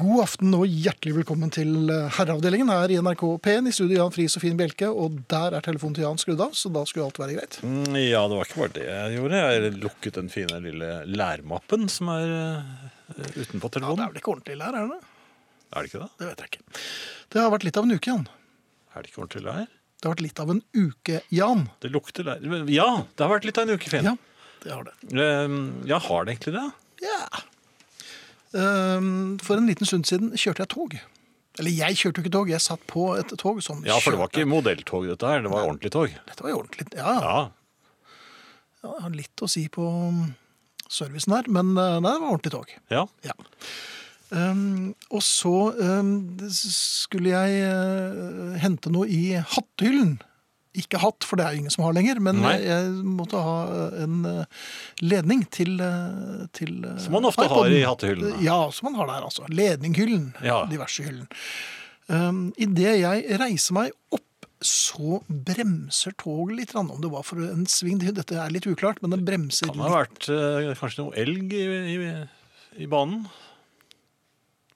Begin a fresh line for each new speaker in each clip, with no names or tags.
God aften og hjertelig velkommen til eh, Herreavdelingen her i NRK P1. I studio Jan Friis og Finn Bjelke, og der er telefonen til Jan skrudd av, så da skulle alt være greit.
Mm, Ja, det var ikke bare det jeg gjorde. Jeg lukket den fine lille lærmappen som er eh,
Ja, Det
utenpå
er
telefonen.
vel ikke ordentlig lær, er det det?
er det ikke det?
Det vet jeg ikke. Det har vært litt av en uke, Jan.
Er det ikke ordentlig lær?
Det har vært litt av en uke, Jan.
Det lukter lær. Ja, det har vært litt av en uke, Finn.
Ja, det har det.
Ehm, Ja, har det egentlig det?
Ja. Ehm, For en liten stund siden kjørte jeg tog. Eller jeg kjørte jo ikke tog, jeg satt på et tog som
Ja, for det var
kjørte.
ikke modelltog dette her, det var ordentlig tog.
Dette var jo ordentlig. Ja, ja.
Ja,
ja, jeg har litt å si på um, servicen her, men eh, nei, det var ordentlig tog.
ja.
Ja. Ehm, og så ehm, det s- skulle jeg eh, hente noe i hatthyllen. Ikke hatt, for det er jo ingen som har lenger, men
Nei.
jeg, jeg måtte ha eh, en eh, ledning til, eh, til eh,
Som man ofte har i hattehyllen, da.
Ja, som man har der, altså. Ledninghyllen.
Ja.
Diverse hyllen. Um, Idet jeg reiser meg opp, så bremser toget litt. grann. Om det var for en sving, det- dette er litt uklart, men det bremser
Kan det ha vært eh, kanskje noe elg i, i, i banen?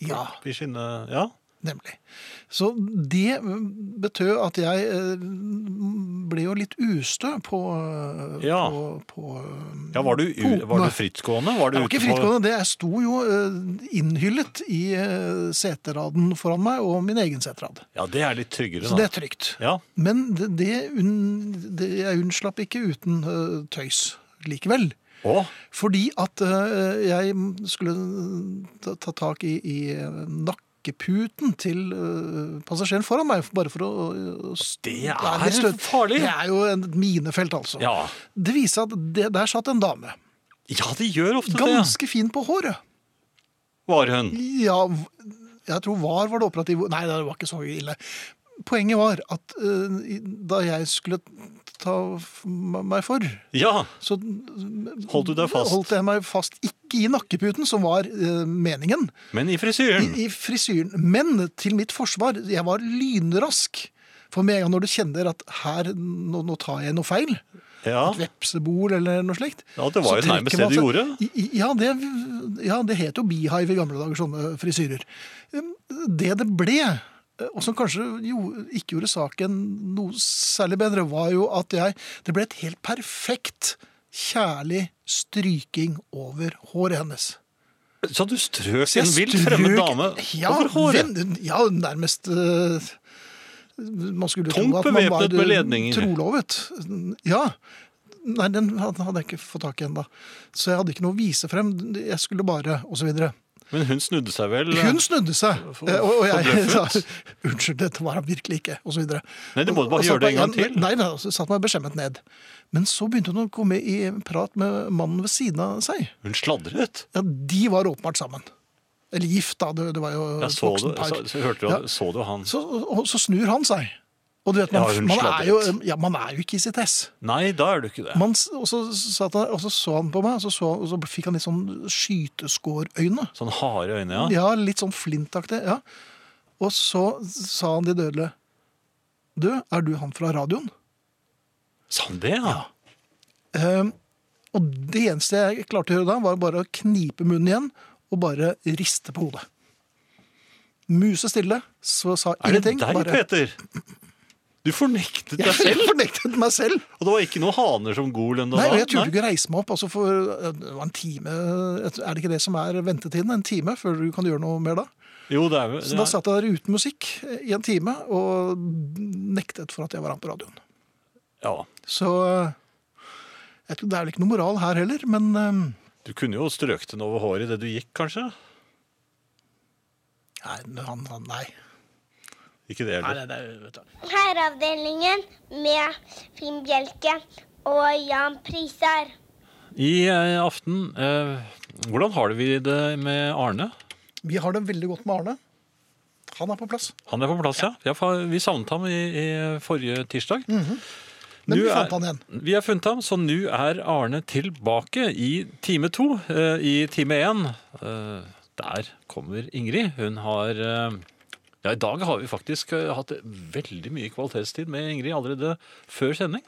litt. Ja,
I skinne... Ja.
nemlig. Så det betød at jeg eh, ble jo litt ustø på, eh,
Ja.
på, på eh,
Ja, var du, u- var du frittgående? Var du
Jeg var ikke
ute på-
frittgående, det. Jeg sto jo eh, innhyllet i eh, seteraden foran meg og min egen seterad.
Ja, det er litt tryggere
Så det
da.
er trygt.
Ja,
Men det, det, unn, det jeg unnslapp ikke uten eh, tøys likevel.
og...
Fordi at eh, jeg skulle ta, ta tak i, i nakkeputen til eh, passasjeren foran meg, bare for å, å
Det er
litt støt.
farlig.
Det er jo et minefelt, altså.
Ja.
Det viser at det, der satt en dame.
ja, de gjør ofte det.
Ganske fin på håret.
Var hun?
Ja, jeg tror var var det operativ Nei, det var ikke så ille. Poenget var at eh, i- da jeg skulle ta f- meg for,
Ja,
så
Holdt du deg fast?
holdt jeg meg fast ikke i nakkeputen, som var eh, meningen,
men i frisyren.
i frisyren. Men til mitt forsvar, jeg var lynrask. For med en gang når du kjenner at her, nå, nå tar jeg noe feil,
Ja,
vepsebol eller noe slikt
ja det var
så
jo nærmest
trekker man
det de
seg-
gjorde.
I- i- Ja, det, ja, det het jo beehive i gamle dager, sånne frisyrer. Um, Det det ble, eh, og som kanskje jo, ikke gjorde saken noe særlig bedre, var jo at jeg Det ble et helt perfekt, kjærlig stryking over håret hennes.
Så du strøk
Så jeg
en vilt fremmed
strøk-
dame
ja,
over håret.
ven- ja, nærmest eh, Man skulle jo
Tungt
tro at man var
bevæpnet med ledninger.
trolovet. Ja. Nei, den hadde hadde jeg ikke fått tak i ennå. Så jeg hadde ikke noe å vise frem. Jeg skulle bare Og så videre.
Men hun snudde seg vel.
Hun snudde seg,
For-
eh, og, og jeg sa
forbløffet.
unnskyld, dette var han virkelig ikke, og så videre.
Nei, du må
Og-
bare
og satt
gjøre det en
meg
gang
igjen-
til.
Nei, nei, så satt meg beskjemmet ned. Men så begynte hun å komme i prat med mannen ved siden av seg.
Hun sladret.
Ja, de var åpenbart sammen. Eller gift, da. Det, det var jo
Jeg
et
så, du,
voksent par.
så, så, hørte du,
Ja.
så du han.
Så, og så snur han seg. Og du vet, man,
Ja, hun
man, er, jo,
sladret.
ja, man er jo ikke i sitt ess.
Nei, da er du ikke det.
Man, s- og, så satt han, og så så han på meg, og så, så, og så fikk han litt sånn skyteskårøyne.
Sånn harde øyne, ja.
Ja, litt sånn flintaktig. Ja. Og så sa han de dødelige Du, er du han fra radioen?
Sa han det, ja?
Ehm, og det eneste jeg klarte å gjøre da, var bare å knipe munnen igjen og bare riste på hodet. Muse stille, så sa
Er det
ingenting.
deg,
bare,
Peter? Du fornektet deg
jeg
selv.
fornektet meg selv!
Og det var ikke noen haner som gol ennå?
Nei, og jeg turte ikke å reise meg opp. Altså for, eh, det var en time, eh, er det ikke det som er ventetiden? En time før du kan gjøre noe mer da?
Jo, det er jo
Så
det
da
er-
satt jeg der uten musikk eh, i en time og nektet for at jeg var han på radioen.
Ja.
Så eh, jeg tror det er vel ikke noe moral her heller, men eh,
Du kunne jo strøkt den over håret idet du gikk, kanskje?
Nei, han, han, nei.
Ikke det heller.
Herreavdelingen med Finn Bjelke og Jan Prisar.
I eh, aften, eh, hvordan har vi det med Arne?
Vi har det veldig godt med Arne. Han er på plass.
Han er på plass, ja. ja. fa- Vi savnet ham i, i forrige tirsdag.
Men
Nu
vi
er-
fant han igjen.
Vi har funnet ham, så nå er Arne tilbake i time to. Eh, I time én eh, der kommer Ingrid. Hun har eh, Ja, i dag har vi faktisk eh, hatt veldig mye kvalitetstid med Ingrid allerede før sending.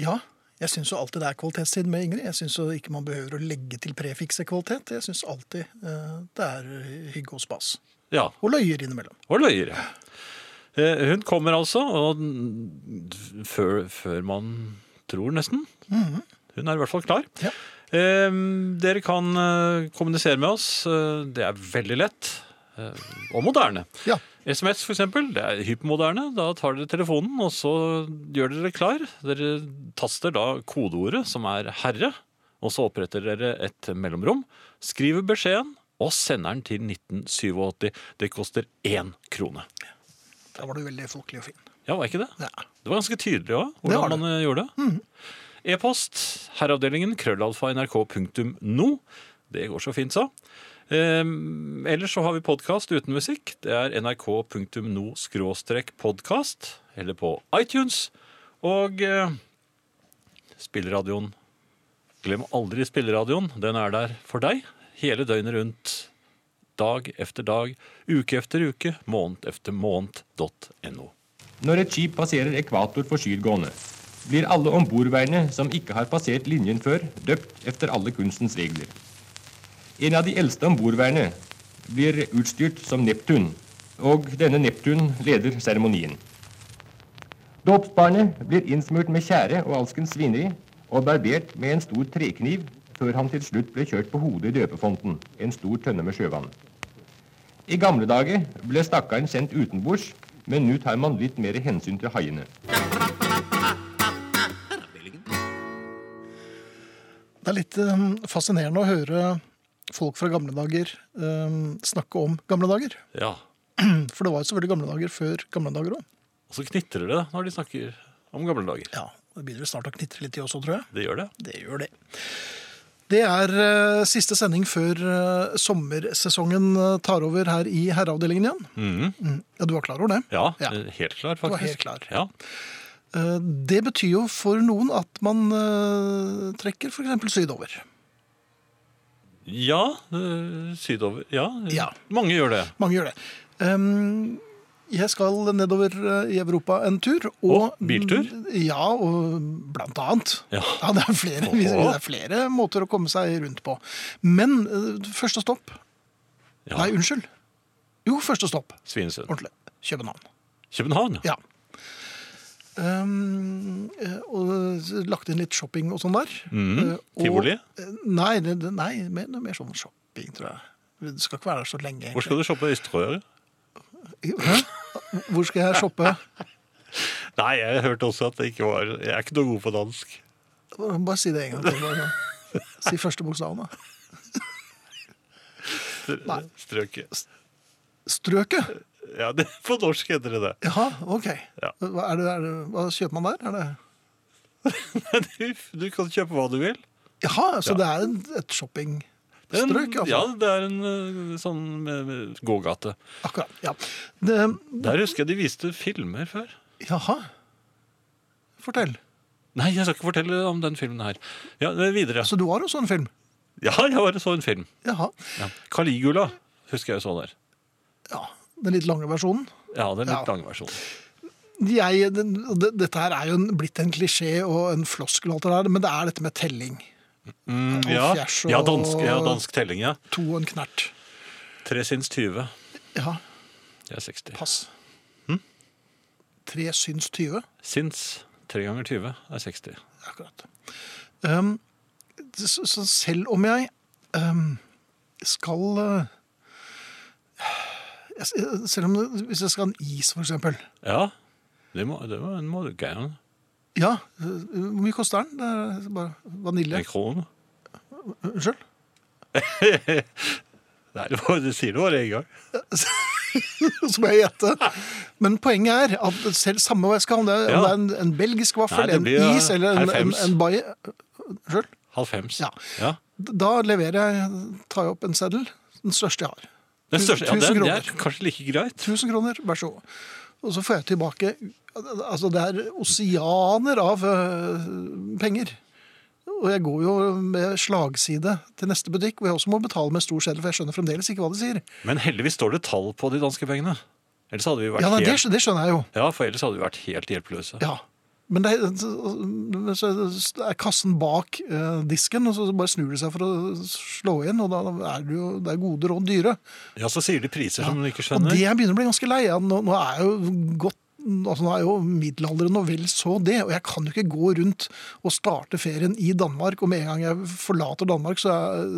Ja, jeg syns jo alltid det er kvalitetstid med Ingrid. Jeg syns jo ikke man behøver å legge til prefikset kvalitet. Jeg syns alltid eh, det er hygge og spas.
Ja,
Og løyer innimellom.
og løyer. ja. Eh, Hun kommer altså, og den- før, før man tror, nesten. Hun er i hvert fall klar.
Ja.
Eh, Dere kan eh, kommunisere med oss. Eh, Det er veldig lett. eh, Og moderne.
Ja.
SMS for eksempel, det er hypermoderne. Da tar dere telefonen, og så gjør dere klar. Dere taster da kodeordet, som er 'herre', og så oppretter dere et mellomrom. Skriver beskjeden, og sender den til 1987. Det koster én krone.
Da var du veldig folkelig og fin.
Ja, var ikke det?
Ja.
Det var ganske tydelig òg,
Det var det. Mm.
hvordan man eh, gjorde det. E-post herreavdelingen krøllalfa nrk.no. Det går så fint, så. Ehm, ellers så har vi podkast uten musikk. Det er nrk.no-podkast, eller på iTunes. Og eh, spilleradioen Glem aldri spilleradioen. Den er der for deg hele døgnet rundt. Dag efter dag, uke efter uke, måned efter måned.no.
Når et skip passerer ekvator for sydgående, blir alle ombordværende som ikke har passert linjen før, døpt efter alle kunstens regler. En av de eldste ombordværende blir utstyrt som Neptun, og denne Neptun leder seremonien. Dåpsbarnet blir innsmurt med tjære og alskens svineri, og barbert med en stor trekniv, før han til slutt ble kjørt på hodet i døpefonten, en stor tønne med sjøvann. I gamle dager ble stakkaren sendt utenbords, men nå tar man litt mer hensyn til haiene.
Det er litt eh, fascinerende å høre folk fra gamle dager eh, snakke om gamle dager.
Ja,
For det var jo selvfølgelig gamle dager før gamle dager òg.
Og så knitrer det når de snakker om gamle dager.
Ja, det begynner snart å knitre litt i også, tror jeg.
Det gjør det.
Det gjør det. Det er eh, siste sending før eh, sommersesongen eh, tar over her i herreavdelingen igjen. Mm. Ja, du var klar over det.
Mhm. Ja,
Ja.
eh, helt klar, faktisk.
var helt klar.
Ja.
Eh, Det betyr jo for noen at man eh, trekker f.eks. sydover.
ja eh, sydover. Ja, eh,
Ja.
mange gjør det.
Mange gjør det. Ehm, jeg skal nedover eh, i Europa en tur. Og,
Å, biltur?
Ja, og blant annet.
Ja.
det, er flere,
Å.
det er flere måter å komme seg rundt på. Men eh, første stopp
Ja.
Nei, unnskyld. Jo, første stopp.
Svinesund.
Ordentlig. København.
København.
Ja. Ehm, eh, og lagt inn litt shopping og sånn der. Eh, og-
Mhm. Tivoli?
Eh, Nei, det, det- nei mer, det er mer sånn shopping, tror jeg. Det skal ikke være der så lenge.
Hvor skal du shoppe i Strøer?
egentlig. Hæ? Hvor skal jeg shoppe?
Nei, jeg hørte også at det ikke var Jeg er ikke noe god på dansk.
Bare si det en gang til. Bare. sånn. Si første bokstaven, da.
Str-
Nei.
Strøket.
Strøket?
Ja, det, på norsk heter det det.
Jaha, OK.
Ja.
Hva, er det, er det, hva kjøper man der? Er det
Du, du kan kjøpe hva du vil.
Jaha, så
Ja.
det er en- et
Det er en-
shoppingstrøk?
Ja,
Altså.
det er en eh, sånn med, med gågate.
Akkurat. Ja. Det,
Der husker jeg de viste filmer før.
jaha. Fortell.
Nei, jeg skal ikke fortelle om den filmen her. Ja, eh, Videre.
Så du har også en film?
Ja, jeg bare så en film.
Jaha.
Caligula husker jeg så der.
Ja, den litt lange versjonen.
Ja, den litt
Ja.
lange versjonen.
Jeg, den, det- dette her er jo en, blitt en klisjé og en floskel, og alt det der, men det er dette med telling. Og
Ja,
Mm. fjers og-
ja, dansk, ja, dansk telling, ja.
To og en knert.
Tre sinns 20.
Ja,
Jeg er 60.
pass. Tre syns 20.
Sinns tre ganger 20 er 60.
Akkurat. Um, så, så selv om jeg um, skal uh, jeg- Selv om det, hvis jeg skal ha en is, for eksempel.
Ja, det må, det må, må du gjerne.
Ja, uh, hvor mye koster den? Det er bare vanilje.
En krone.
Unnskyld?
Nei, det, var, det sier du bare en gang.
Så må jeg gjette. Men poenget er at selv samme hva jeg skal ha, om det, er- om
Ja.
det er en, en belgisk vaffel,
Nei, det blir,
en is
eh,
eller en, en,
halvfems.
en baie Unnskyld?
Halvfems.
Ja.
ja.
Da leverer jeg, tar jeg opp en seddel, den største jeg har.
Den største, ja,
Tusen
det, det
kroner.
er kanskje like greit.
1000 kroner, vær så god. Og så får jeg tilbake Altså, det er oseaner av øh, penger. Og jeg går jo med slagside til neste butikk, hvor jeg også må betale med stor seddel, for jeg skjønner fremdeles ikke hva de sier.
Men heldigvis står det tall på de danske pengene. Ellers hadde vi vært
Ja, nei, det,
helt...
skj- det skjønner jeg jo.
Ja, for ellers hadde vi vært helt hjelpeløse.
Ja. Men det, men så er kassen bak eh, disken, og så bare snur de seg for å slå igjen. Og da er det jo det er gode råd dyre.
Ja, så sier de priser som du ikke
Og
skjønner.
det jeg begynner å bli ganske lei av. Nå, nå er jeg jo godt Altså, nå er jeg jo middelalderen og vel så det, og jeg kan jo ikke gå rundt og starte ferien i Danmark, og med en gang jeg forlater Danmark, så er,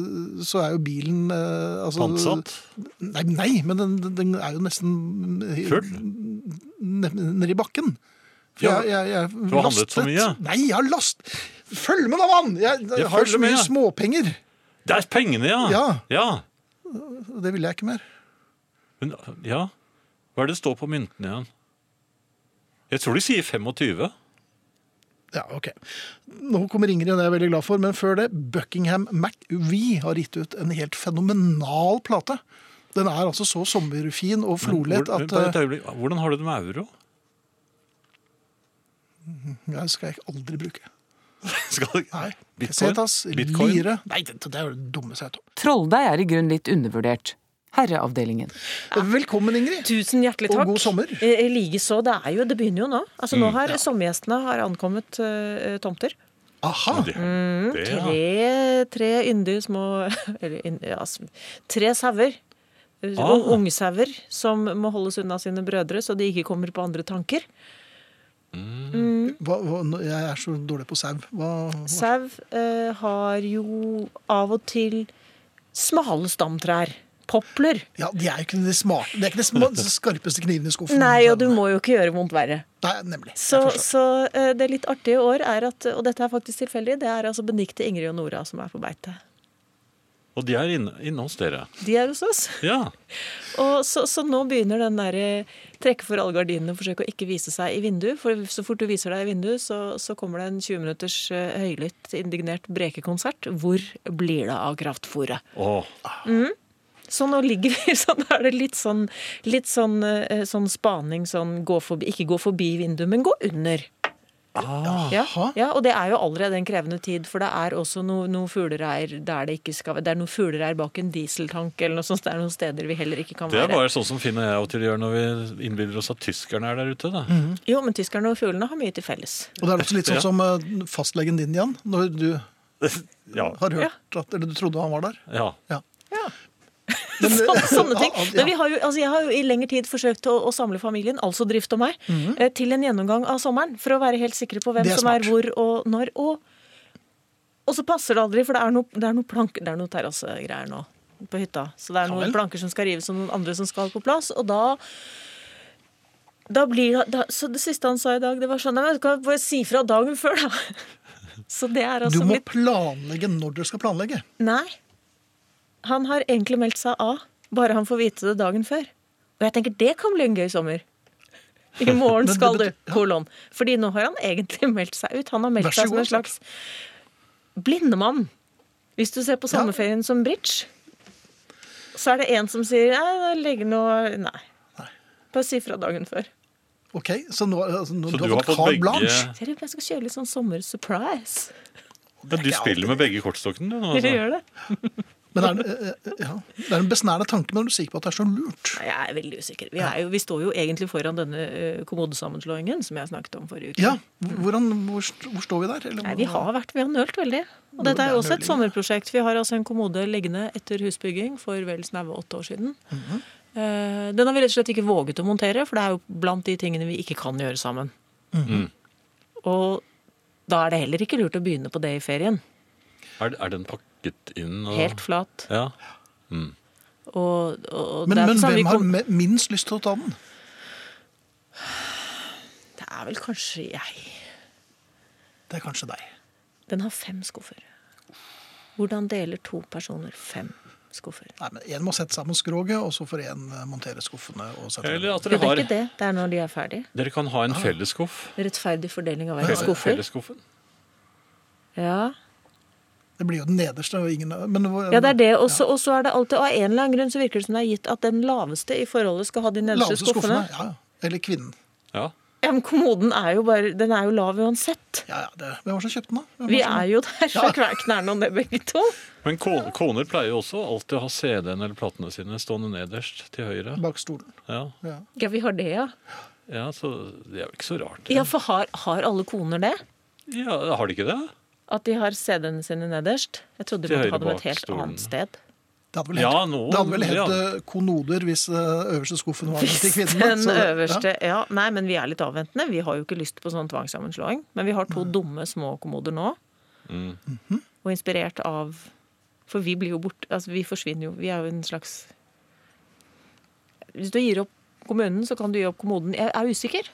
så er jo bilen eh, altså,
Pantsatt.
Nei, nei, men den, den er jo nesten
Full.
ned- ned i bakken. For
Ja,
jeg, jeg, jeg
du har handlet for mye.
Nei, jeg har last... Følg med, da, mann! Jeg,
Ja,
har
følg
så
med,
mye
ja.
småpenger.
Det er pengene, ja.
Ja.
Ja.
Det ville jeg ikke mer.
Men, ja. Hva er det det står på myntene igjen? Jeg tror de sier 25.
Ja, ok. Nå kommer Ingrid, og det er jeg veldig glad for, men før det, Buckingham McVie har gitt ut en helt fenomenal plate. Den er altså så sommerfin og flolett
Hvor- men
at
bare et
eh,
øyeblikk, Hvordan har du det med euro?
ja, det skal jeg aldri bruke.
Skal
Nei.
Bitcoin?
Pesetas,
Bitcoin?
lire Nei, det, det er jo det dummeste jeg vet om.
Trolldeig er i grunnen litt undervurdert. Herreavdelingen.
Velkommen, Ingrid.
Tusen hjertelig
Og
takk.
god sommer.
Eh, Likeså. Det er jo, det begynner jo nå. Altså Nå har sommergjestene har ankommet eh, tomter.
Aha.
Det, det, ja.
Mm, Tre, tre yndige små Eller ynd- ja, s- tre sauer. Eh,
Ah.
ung- Ungsauer som må holdes unna sine brødre, så de ikke kommer på andre tanker.
Hva, hva, nå- jeg er så dårlig på sau. Hva, hva?
Sau eh, har jo av og til smale stamtrær. Popler.
Ja, de er jo ikke de smarte. Det er ikke de sma- skarpeste knivene i skuffen.
Nei, og du må jo ikke gjøre vondt verre.
Nei, nemlig. Jeg
Så,
forstår.
så eh, det litt artige i år er at, og dette er faktisk tilfeldig, det er altså Benikte, Ingrid og Nora som er på beite.
Og de er inne, inne hos dere.
De er hos oss.
Ja.
Og så, så nå begynner den derre trekke for alle gardinene og forsøke å ikke vise seg i vinduet. For så fort du viser deg i vinduet, så, så kommer det en 20 minutters eh, høylytt, indignert brekekonsert. Hvor blir det av kraftfôret?
Åh.
Ah,
Så nå ligger vi sånn, da er det litt sånn, litt sånn, eh, sånn spaning, sånn gå forbi, ikke gå forbi vinduet, men gå under. Ja, ja, og det er jo allerede en krevende tid, for det er også no, noen fuglereir der det ikke skal Det er noen fuglereir bak en dieseltank eller noe sånt. Det er noen steder vi heller ikke kan
Det er
være.
bare sånn som Finn og jeg av og til gjør når vi innbiller oss at tyskerne er der ute. Da.
Mhm.
Jo, men tyskerne og fuglene har mye til felles.
Og det er også litt sånn
Ja.
som eh, fastlegen din, Jan. Når du
Ja.
har hørt at, eller du trodde han var der.
ja.
Ja. Men- eh,
Sånne, sånne ting.
Ja, ja.
Men vi har jo, altså jeg har jo i lengre tid forsøkt å, å samle familien, altså Drift og meg, eh, til en gjennomgang av sommeren. For å være helt sikre på hvem
Mhm. Det er
som er
smart.
hvor og når. Og, og så passer det aldri, for det er noe, det er noe plank, det er noe terrassegreier nå på hytta. Så det er noen
vel.
planker som skal rives, og noen andre som skal på plass. Og da da blir, da, så Det siste han sa i dag, det var sånn Nei, men du kan bare si fra dagen før, da. Så det er
Du
altså
må
litt
planlegge når dere skal planlegge.
Nei. Han har egentlig meldt seg av, bare han får vite det dagen før. Og jeg tenker det kan bli en gøy sommer. I morgen
det
skal du,
betyr- ja.
kolon. Fordi nå har han egentlig meldt seg ut. Han
Vær
har meldt
så
seg som
god.
en slags blindemann. Hvis du ser på sommerferien som bridge, så er det en som sier nei, legg nå Nei. Bare si fra dagen før.
Ok, Så nå, altså, nå
Så
du har fått carte blanche.
Ser du, jeg skal kjøre litt sånn sommer-surprise.
ja, Du spiller med begge kortstokkene, du. nå,
Vil du
Altså.
gjøre det?
Men er, det- eh, ja, det er en besnærende tanke, men er du sikker på at det er så lurt?
Nei, Jeg er veldig usikker. Vi, er jo, vi står jo egentlig foran denne eh, kommodesammenslåingen som jeg snakket om forrige uke.
Ja, hvordan, hvor, st- hvor står vi der? Eller,
Nei, vi har vært, vi har nølt veldig. Og dette er jo også et sommerprosjekt. Vi har altså en kommode liggende etter husbygging for vel snaue åtte år siden.
Mhm.
Eh, Den har vi rett og slett ikke våget å montere, for det er jo blant de tingene vi ikke kan gjøre sammen.
Mhm.
Mm. Og da er det heller ikke lurt å begynne på det i ferien.
Er, er den pakket inn? Og...
Helt flat.
Ja.
Og, og, og
Men,
det er
men
sånn vi
hvem har
kom-
me- minst lyst til å ta den?
Det er vel kanskje jeg.
Det er kanskje deg.
Den har fem skuffer. Hvordan deler to personer fem skuffer?
Nei, men Én må sette sammen skroget, og så får én eh, montere skuffene. og sette
Eller at
Det
dere
er
har Ah.
ikke det. Det er når de er ferdig.
Dere kan ha en fellesskuff.
Rettferdig fordeling av
Felle-
verdens skuffer.
Fellesskuffen.
Ja.
Det blir jo den nederste. og Ingen, men, hvor-
Ja, det er det. Og så og så er det alltid, av en eller annen grunn så virker det som det er gitt at den laveste i forholdet skal ha de nederste
laveste
skuffene.
skuffene. Ja, ja. Eller kvinnen.
Ja.
Ja, men kommoden er jo bare Den er jo lav uansett.
Ja, ja, det. Hvem var det som kjøpte den, da? Hvem var
Vi
det som-
er jo der fra hver knærne og ned, begge to.
Men ko- koner pleier jo også alltid å ha CD-en eller platene sine stående nederst til høyre.
Bak stolen.
Ja,
Ja.
Ja, vi har det, ja.
ja så det er jo ikke så rart. det.
Ja, For har, har alle koner det?
Ja, Har de ikke det?
At de har CD-ene sine nederst? Jeg trodde
Til
vi
høyre
hadde dem
bak
et helt
stolen.
annet sted.
Det hadde vel hett,
Ja, noen.
det hadde vel hett
ja.
eh, konoder hvis eh, øverste skuffen var
Hvis
til kvinnen. da.
den
Så det-
øverste ja. Nei, men vi er litt avventende. Vi har jo ikke lyst på sånn tvangssammenslåing. Men vi har to dumme små kommoder nå.
Mm.
Mhm.
Og inspirert av For vi blir jo borte. Altså, vi forsvinner jo. Vi er jo en slags Hvis du gir opp kommunen, så kan du gi opp kommoden. Jeg er usikker.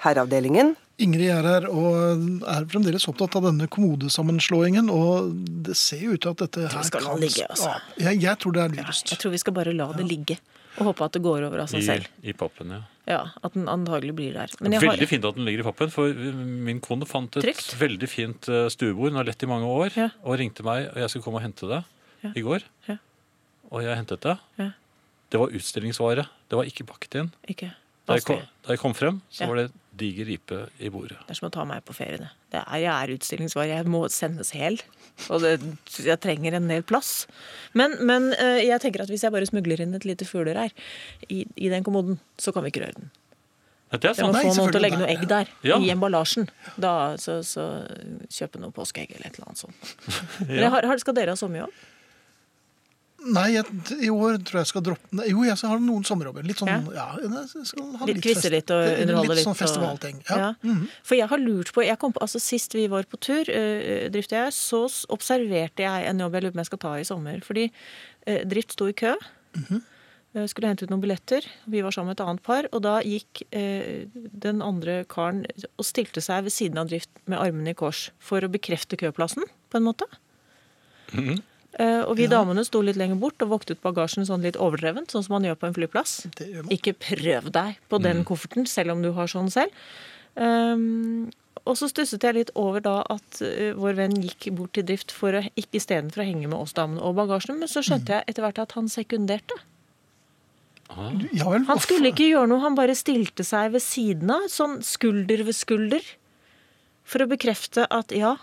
Herreavdelingen.
Ja. Ingrid er her og er fremdeles opptatt av denne kommodesammenslåingen. Og det ser jo ut til at dette her
skal la ligge, altså.
Ja, jeg, jeg tror det er
Jeg
lurest.
tror vi skal bare la det ligge. Og håpe at det går over av seg selv.
I, I pappen, ja.
Ja, At den antagelig blir der. Men jeg har-
Veldig fint at den ligger i pappen, for eh, min kone fant et
Trygt.
veldig fint eh, stuebord. Den har lett i mange år,
Ja.
og ringte meg, og jeg skulle komme og hente det
Ja.
i går.
Ja.
Og jeg hentet det.
Ja.
Det var utstillingsvare. Det var ikke pakket inn.
Ikke.
Da jeg
Vanskelig.
kom, da jeg kom frem, så
Ja.
var det diger ripe i bordet.
Det er som å ta meg på ferie. Det. Det er, jeg er utstillingsvare. Jeg må sendes hel. Og det, jeg trenger en del plass. Men, men eh, jeg tenker at hvis jeg bare smugler inn et lite fuglereir i, i den kommoden, så kan vi ikke røre den.
Det er sånn,
Det
Nei,
sant.
må få noen til å
selvfølgelig,
legge noe egg der.
Ja.
I emballasjen. Da, så, så kjøpe noe påskeegg eller et eller annet sånt. Men
Ja.
jeg har, har, skal dere ha sommerjobb?
Nei, jeg, i år tror jeg jeg skal droppe den. Jo, jeg skal ha noen sommerjobber. Litt sånn, ja, jeg skal ha
Litt quize
fest-
litt og underholde litt.
Litt sånn
og-
festivalting. Ja. Mm.
For jeg har lurt på jeg kom på, altså Sist vi var på tur, eh, Drift og jeg, så s- observerte jeg en jobb jeg lurer på om jeg skal ta i sommer. Fordi eh, Drift sto i kø.
Mhm.
Eh, Skulle hente ut noen billetter. Vi var sammen med et annet par. Og da gikk eh, den andre karen og stilte seg ved siden av Drift med armene i kors for å bekrefte køplassen, på en måte. Eh, og vi damene sto litt lenger bort og voktet bagasjen sånn litt overdrevent, sånn som man gjør på en flyplass.
Det gjør man. Mm.
Ikke prøv deg på den kofferten, selv om du har sånn selv. Ehm, og så stusset jeg litt over da at eh, vår venn gikk bort til drift for å, ikke istedenfor å henge med oss damene og bagasjen, men så
Mm.
skjønte jeg etter hvert at han sekunderte.
Ja vel.
Han skulle ikke gjøre noe, han bare stilte seg ved siden av, sånn skulder ved skulder, for å bekrefte at ja,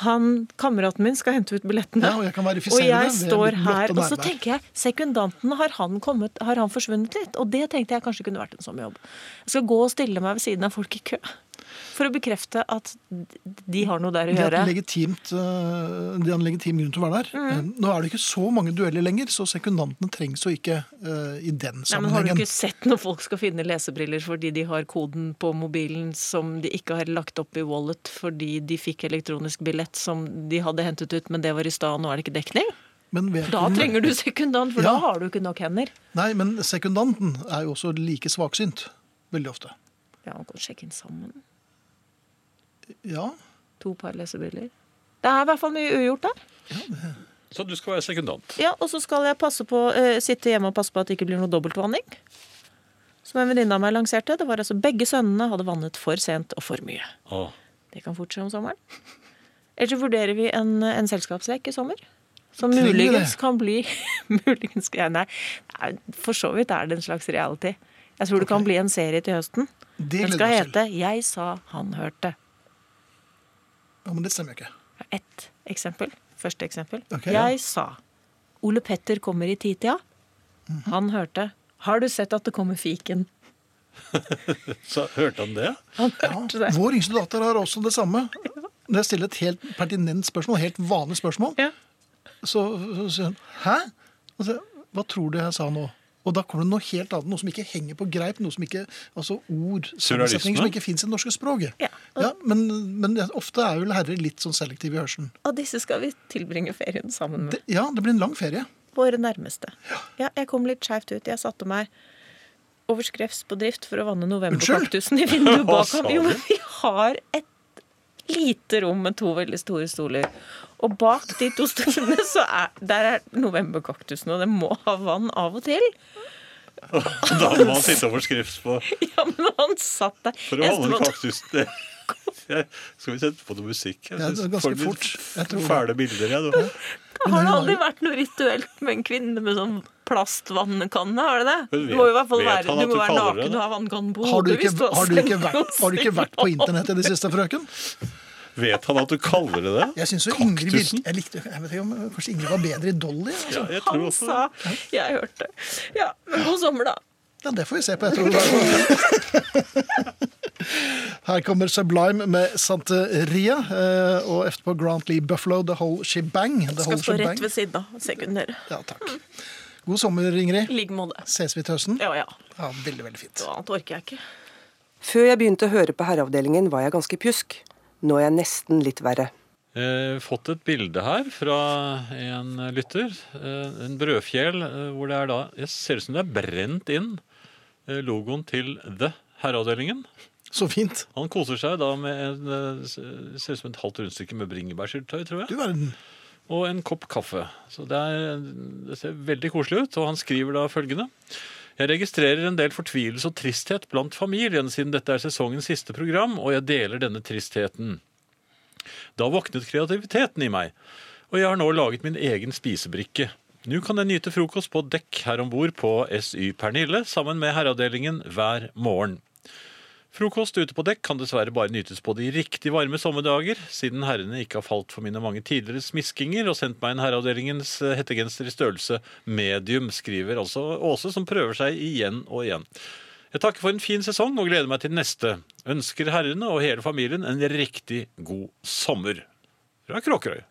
han, kameraten min skal hente ut billettene.
Ja, og jeg kan verifisere
Og
det
jeg
ved
står
mitt
her,
blotte
og så
nærvær.
tenker jeg, sekundanten, har han, kommet, har han forsvunnet litt? Og det tenkte jeg kanskje kunne vært en sommerjobb. Jeg skal gå og stille meg ved siden av folk i kø, for å bekrefte at de har noe der å
Det er,
gjøre. Mm.
et legitimt, eh, det er en legitim grunn til å være der. Eh, Nå er det ikke så mange dueller lenger, så sekundantene trengs jo ikke eh, i den
Nei, men Har du
sammenhengen.
ikke sett når folk skal finne lesebriller fordi de har koden på mobilen som de ikke har lagt opp i wallet fordi de fikk elektronisk billett som de hadde hentet ut, men det var i stad, og nå er det ikke dekning?
Men
Da
vedkommende-
trenger du sekundant, for
Ja.
da har du ikke nok hender.
Nei, men sekundanten er jo også like svaksynt. Veldig ofte.
Ja, man kan sjekke inn sammen.
Ja.
To par lesebriller. Det er i hvert fall mye ugjort der.
Så du skal være sekundant.
Ja, Og så skal jeg passe på, eh, sitte hjemme og passe på at det ikke blir noe dobbeltvanning. Som en venninne av meg lanserte. Det var altså Begge sønnene hadde vannet for sent og for mye.
Å,
Det kan fort skje om sommeren. Eller så vurderer vi en, en selskapslek i sommer. Som
Trenger vi det?
muligens kan bli muligens, ja, nei, nei, For så vidt er det en slags reality. Jeg tror det kan bli en serie til høsten.
Det
Den
gleder
skal
jeg meg til.
hete 'Jeg sa han hørte'.
Ja, men det stemmer jo ikke.
Ett eksempel. Første eksempel.
Ok, ja.
jeg sa 'Ole Petter kommer i titida'.
Mhm.
Han hørte 'Har du sett at det kommer fiken'?
Så hørte han det?
Han hørte det.
Vår yngste datter har også det samme. Når jeg stiller et helt pertinent spørsmål, helt vanlig spørsmål,
Ja.
så så sier hun 'hæ?' Og så, Hva tror du jeg sa nå? Og da kommer det noe helt annet, noe som ikke henger på greip, noe som ikke, altså ord, sammensetninger som ikke fins i det norske språket.
Ja.
men, men ofte er vel herrer litt sånn selektive i hørselen.
Og disse skal vi tilbringe ferien sammen med.
Det, ja, det blir en lang ferie.
Våre nærmeste. Ja, jeg kom litt skeivt ut. Jeg satte meg over skrevs på drift for å vanne novemberkaktusen i vinduet
Hva
bak
sa
ham. Jo,
du?
men vi har et lite rom med to veldig store stoler. Og bak de to stolene så er der er novemberkaktusen, og den må ha vann av og til.
Da må han sitte over skrift på
Ja, men han satt der.
for å
Eneste
holde
måte-
kaktusen. Skal vi sette på noe musikk? Jeg
Ja, det er
synes
ganske
folk blir
fort. Jeg tror det.
Fæle bilder, jeg. nå.
Har det aldri vært noe rituelt med en kvinne med sånn plastvannkanne? Har det det?
Hun
Du må i hvert fall
vet- vet
være,
han
du
at
må
du
være
kaller det
naken
det?
og ha vannkanne på
Har du
hodet.
ikke,
hvis har
har du ikke,
sendt
vært,
noen
har du ikke vært på
signal.
internett i det siste, frøken?
Vet han at du kaller det det?
Jeg synes jo Ingrid virke,
Kaktusen?
jeg likte, jeg vet ikke om kanskje Ingrid var bedre i Dolly? Altså.
Jeg tror
Han
også
sa Jeg hørte. Ja, men god sommer, da.
Ja, det får vi se på etter hvert. Her kommer Sublime med Santeria, eh, og etterpå Grant Lee Buffalo, The Whole Shebang. The
Skal
whole
stå
shebang.
rett ved siden av. Sekunder.
Ja, takk. God sommer, Ingrid.
I like måte.
Ses vi til høsten?
Ja ja.
Ja, veldig, veldig fint.
Noe annet orker jeg ikke.
Før jeg begynte å høre på Herreavdelingen, var jeg ganske pjusk. Nå er jeg nesten litt verre.
Eh, fått et bilde her fra en lytter. Eh, en brødfjell eh, hvor det er da Jeg ser ut som det er brent inn eh, logoen til The Herreavdelingen.
Så fint.
Han koser seg da med en, eh, s- ser ut som et halvt rundstykke med bringebærsyltetøy, tror
Du
jeg.
verden.
Og en kopp kaffe. Så det, er, det ser veldig koselig ut. Og han skriver da følgende. Jeg registrerer en del fortvilelse og tristhet blant familien siden dette er sesongens siste program, og jeg deler denne tristheten. Da våknet kreativiteten i meg, og jeg har nå laget min egen spisebrikke. Nå kan jeg nyte frokost på dekk her om bord på SY Pernille sammen med herreavdelingen hver morgen. Frokost ute på dekk kan dessverre bare nytes på de riktig varme sommerdager, siden herrene ikke har falt for mine mange tidligere smiskinger og sendt meg en herreavdelingens eh, hettegenser i størrelse medium, skriver altså Åse, som prøver seg igjen og igjen. Jeg takker for en fin sesong og gleder meg til neste. Ønsker herrene og hele familien en riktig god sommer. Fra Kråkerøy.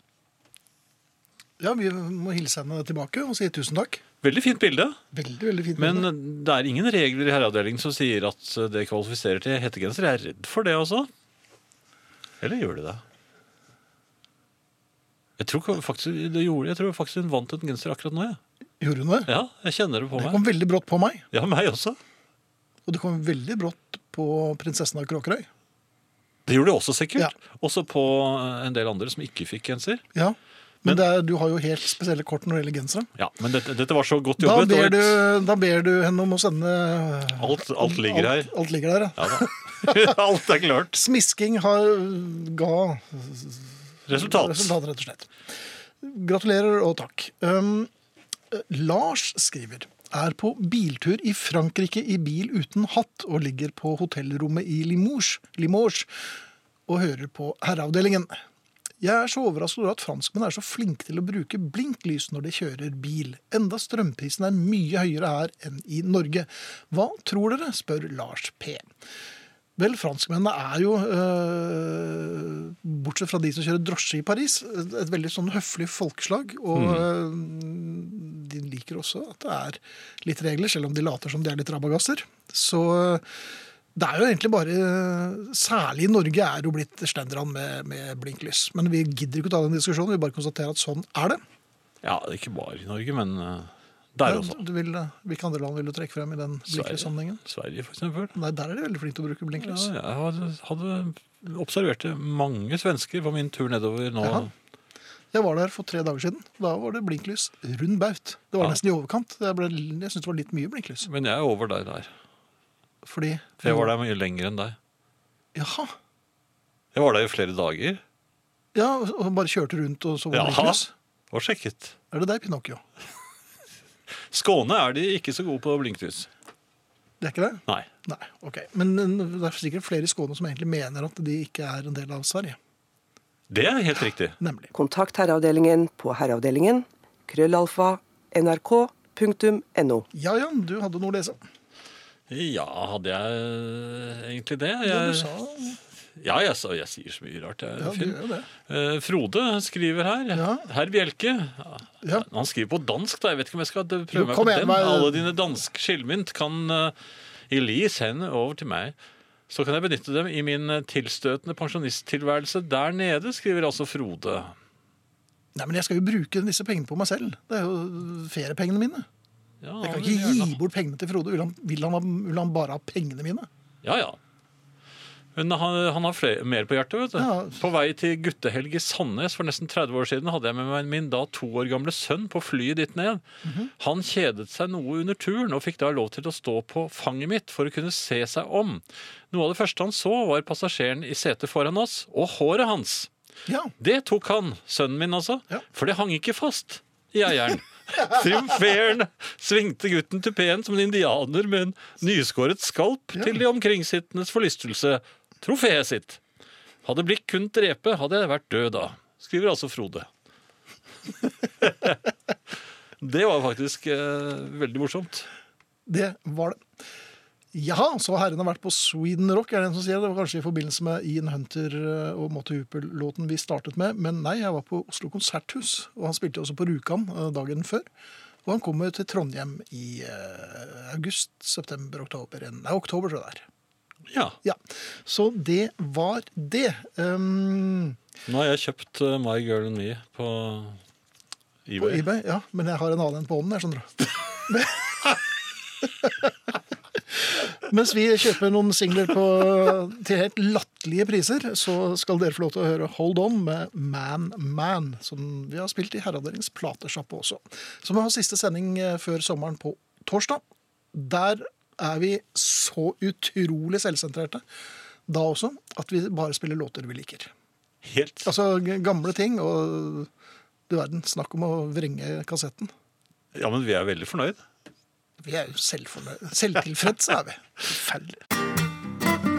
Ja, vi må hilse henne tilbake og si tusen takk.
Veldig fint bilde,
Veldig, veldig fint.
men det er ingen regler i herreavdelingen som sier at det kvalifiserer til hettegenser. Jeg er redd for det, altså. Eller gjør det det? Jeg tror ikke- faktisk, det gjorde, jeg tror faktisk hun vant en genser akkurat nå. jeg.
Gjorde hun det?
Ja, jeg kjenner det på
Det
meg.
kom veldig brått på meg,
Ja, meg også.
og det kom veldig brått på prinsessen av Kråkerøy.
Det gjorde det også sikkert.
Ja.
Også på eh, en del andre som ikke fikk genser.
Ja, men, det er, du har jo helt spesielle kort når det gjelder genseren.
Ja, Men dette, dette var så godt
Da
jobbet.
ber,
og
du,
et-
da ber du henne om å sende
Alt, alt ligger her.
Alt, alt ligger der, ja.
Ja da. alt er klart.
Smisking har, ga
Resultat.
resultat, rett og slett. Gratulerer og takk. Um, eh, Lars skriver er på biltur i Frankrike i bil uten hatt og ligger på hotellrommet i Limoges, Limoges og hører på herreavdelingen. Jeg er så overrasket over at franskmenn er så flinke til å bruke blinklys når de kjører bil, enda strømprisen er mye høyere her enn i Norge. Hva tror dere, spør Lars P. Vel, franskmennene er jo, øh, bortsett fra de som kjører drosje i Paris, et veldig sånn høflig folkeslag. Og
Mm.
øh, de liker også at det er litt regler, selv om de later som de er litt rabagasser. Så øh, det er jo egentlig bare øh, Særlig i Norge er det jo blitt stendran med, med blinklys. Men vi gidder ikke å ta den diskusjonen, vi bare konstaterer at sånn er det.
Ja, ikke bare i Norge, men eh, der også.
Du vil, øh, hvilke andre land vil du trekke frem i den blinklyssammenhengen?
Sverige, for eksempel.
Nei, der er de veldig flinke til å bruke blinklys.
Ja, jeg hadde, hadde observert det. mange svensker på min tur nedover nå.
Jaha. Jeg var der for tre dager siden. Da var det blinklys rund baut. Det var
Ja.
nesten i overkant. Jeg, ble, jeg syntes det var litt mye blinklys.
Men jeg er over deg der.
Fordi
For jeg var der mye lenger enn deg.
Jaha.
Jeg var der i flere dager
Ja, og og bare kjørte rundt og så var det
Jaha.
blinklys.
og sjekket.
Er det deg, Pinocchio?
Skåne er de ikke så gode på blinklys.
Det er ikke det?
Nei.
Nei. ok. Men eh, det er sikkert flere i Skåne som egentlig mener at de ikke er en del av Sverige.
Det er helt riktig.
Nemlig.
Kontakt Herreavdelingen på herreavdelingen. Krøllalfa nrk.no.
Ja, Jan, du hadde noe å lese.
Ja, hadde jeg egentlig det?
Ja, du
Jeg-
sa
Ja, jeg, sa- jeg sier så mye rart. Jeg,
Ja, du
Finn.
gjør jo det.
Eh, Frode skriver her.
Ja.
Herr Bjelke.
Ja.
Han skriver på dansk, da. Jeg vet ikke om jeg skal d- prøve meg
kom
på
igjen,
den.
hva-
Alle dine danske skillmynt kan eh, Elise hende over til meg. Så kan jeg benytte dem i min eh, tilstøtende pensjonisttilværelse der nede, skriver altså Frode.
Nei, men jeg skal jo bruke disse pengene på meg selv. Det er jo feriepengene mine.
Ja,
Jeg kan
det vil
ikke
jeg
gi
gjerne.
bort pengene til Frode. Vil han, vil han, ha, vil han bare ha pengene mine?
Ja, ja. Men han, han har flere, mer på hjertet, vet du.
Ja.
På vei til guttehelg i Sandnes for nesten 30 år siden hadde jeg med meg min da to år gamle sønn på flyet dit ned. Han kjedet seg noe under turen og fikk da lov til å stå på fanget mitt for å kunne se seg om. Noe av det første han så var passasjeren i setet foran oss, og håret hans.
Ja.
Det tok han, sønnen min altså,
Ja.
for det hang ikke fast i eieren. Triumferende svingte gutten tupeen som en indianer med en nyskåret skalp til de omkringsittendes forlystelse. Trofeet sitt. Hadde blikk kunnet drepe, hadde jeg vært død da, skriver altså Frode. det var faktisk eh, veldig morsomt.
Det var det. Jaha, så herren har vært på Sweden Rock, er det en som sier. Det var kanskje i forbindelse med Ian Hunter eh, og Motte Hooper-låten vi startet med. Men nei, jeg var på Oslo Konserthus, og han spilte også på Rjukan eh, dagen før. Og han kommer til Trondheim i eh, august, september, oktober. en- Nei, oktober, tror jeg det er.
Ja,
Ja. Så det var det. Um,
nå har jeg kjøpt eh, My Girl and Me på
på
eBay.
eBay, ja. Men jeg har en annen en på hånden, jeg skjønner du. Men- Mens vi kjøper noen singler på, til helt latterlige priser, så skal dere få lov til å høre Hold On med Man Man, som vi har spilt i Herreavdelingens platesjappe også. Som har siste sending eh, før sommeren på torsdag. Der er vi så utrolig selvsentrerte da også at vi bare spiller låter vi liker.
Helt
Altså g- gamle ting og du verden, snakk om å vrenge kassetten.
Ja, men vi er veldig fornøyd.
Vi er jo selvfornøyde. Selvtilfredse er vi. Forferdelig.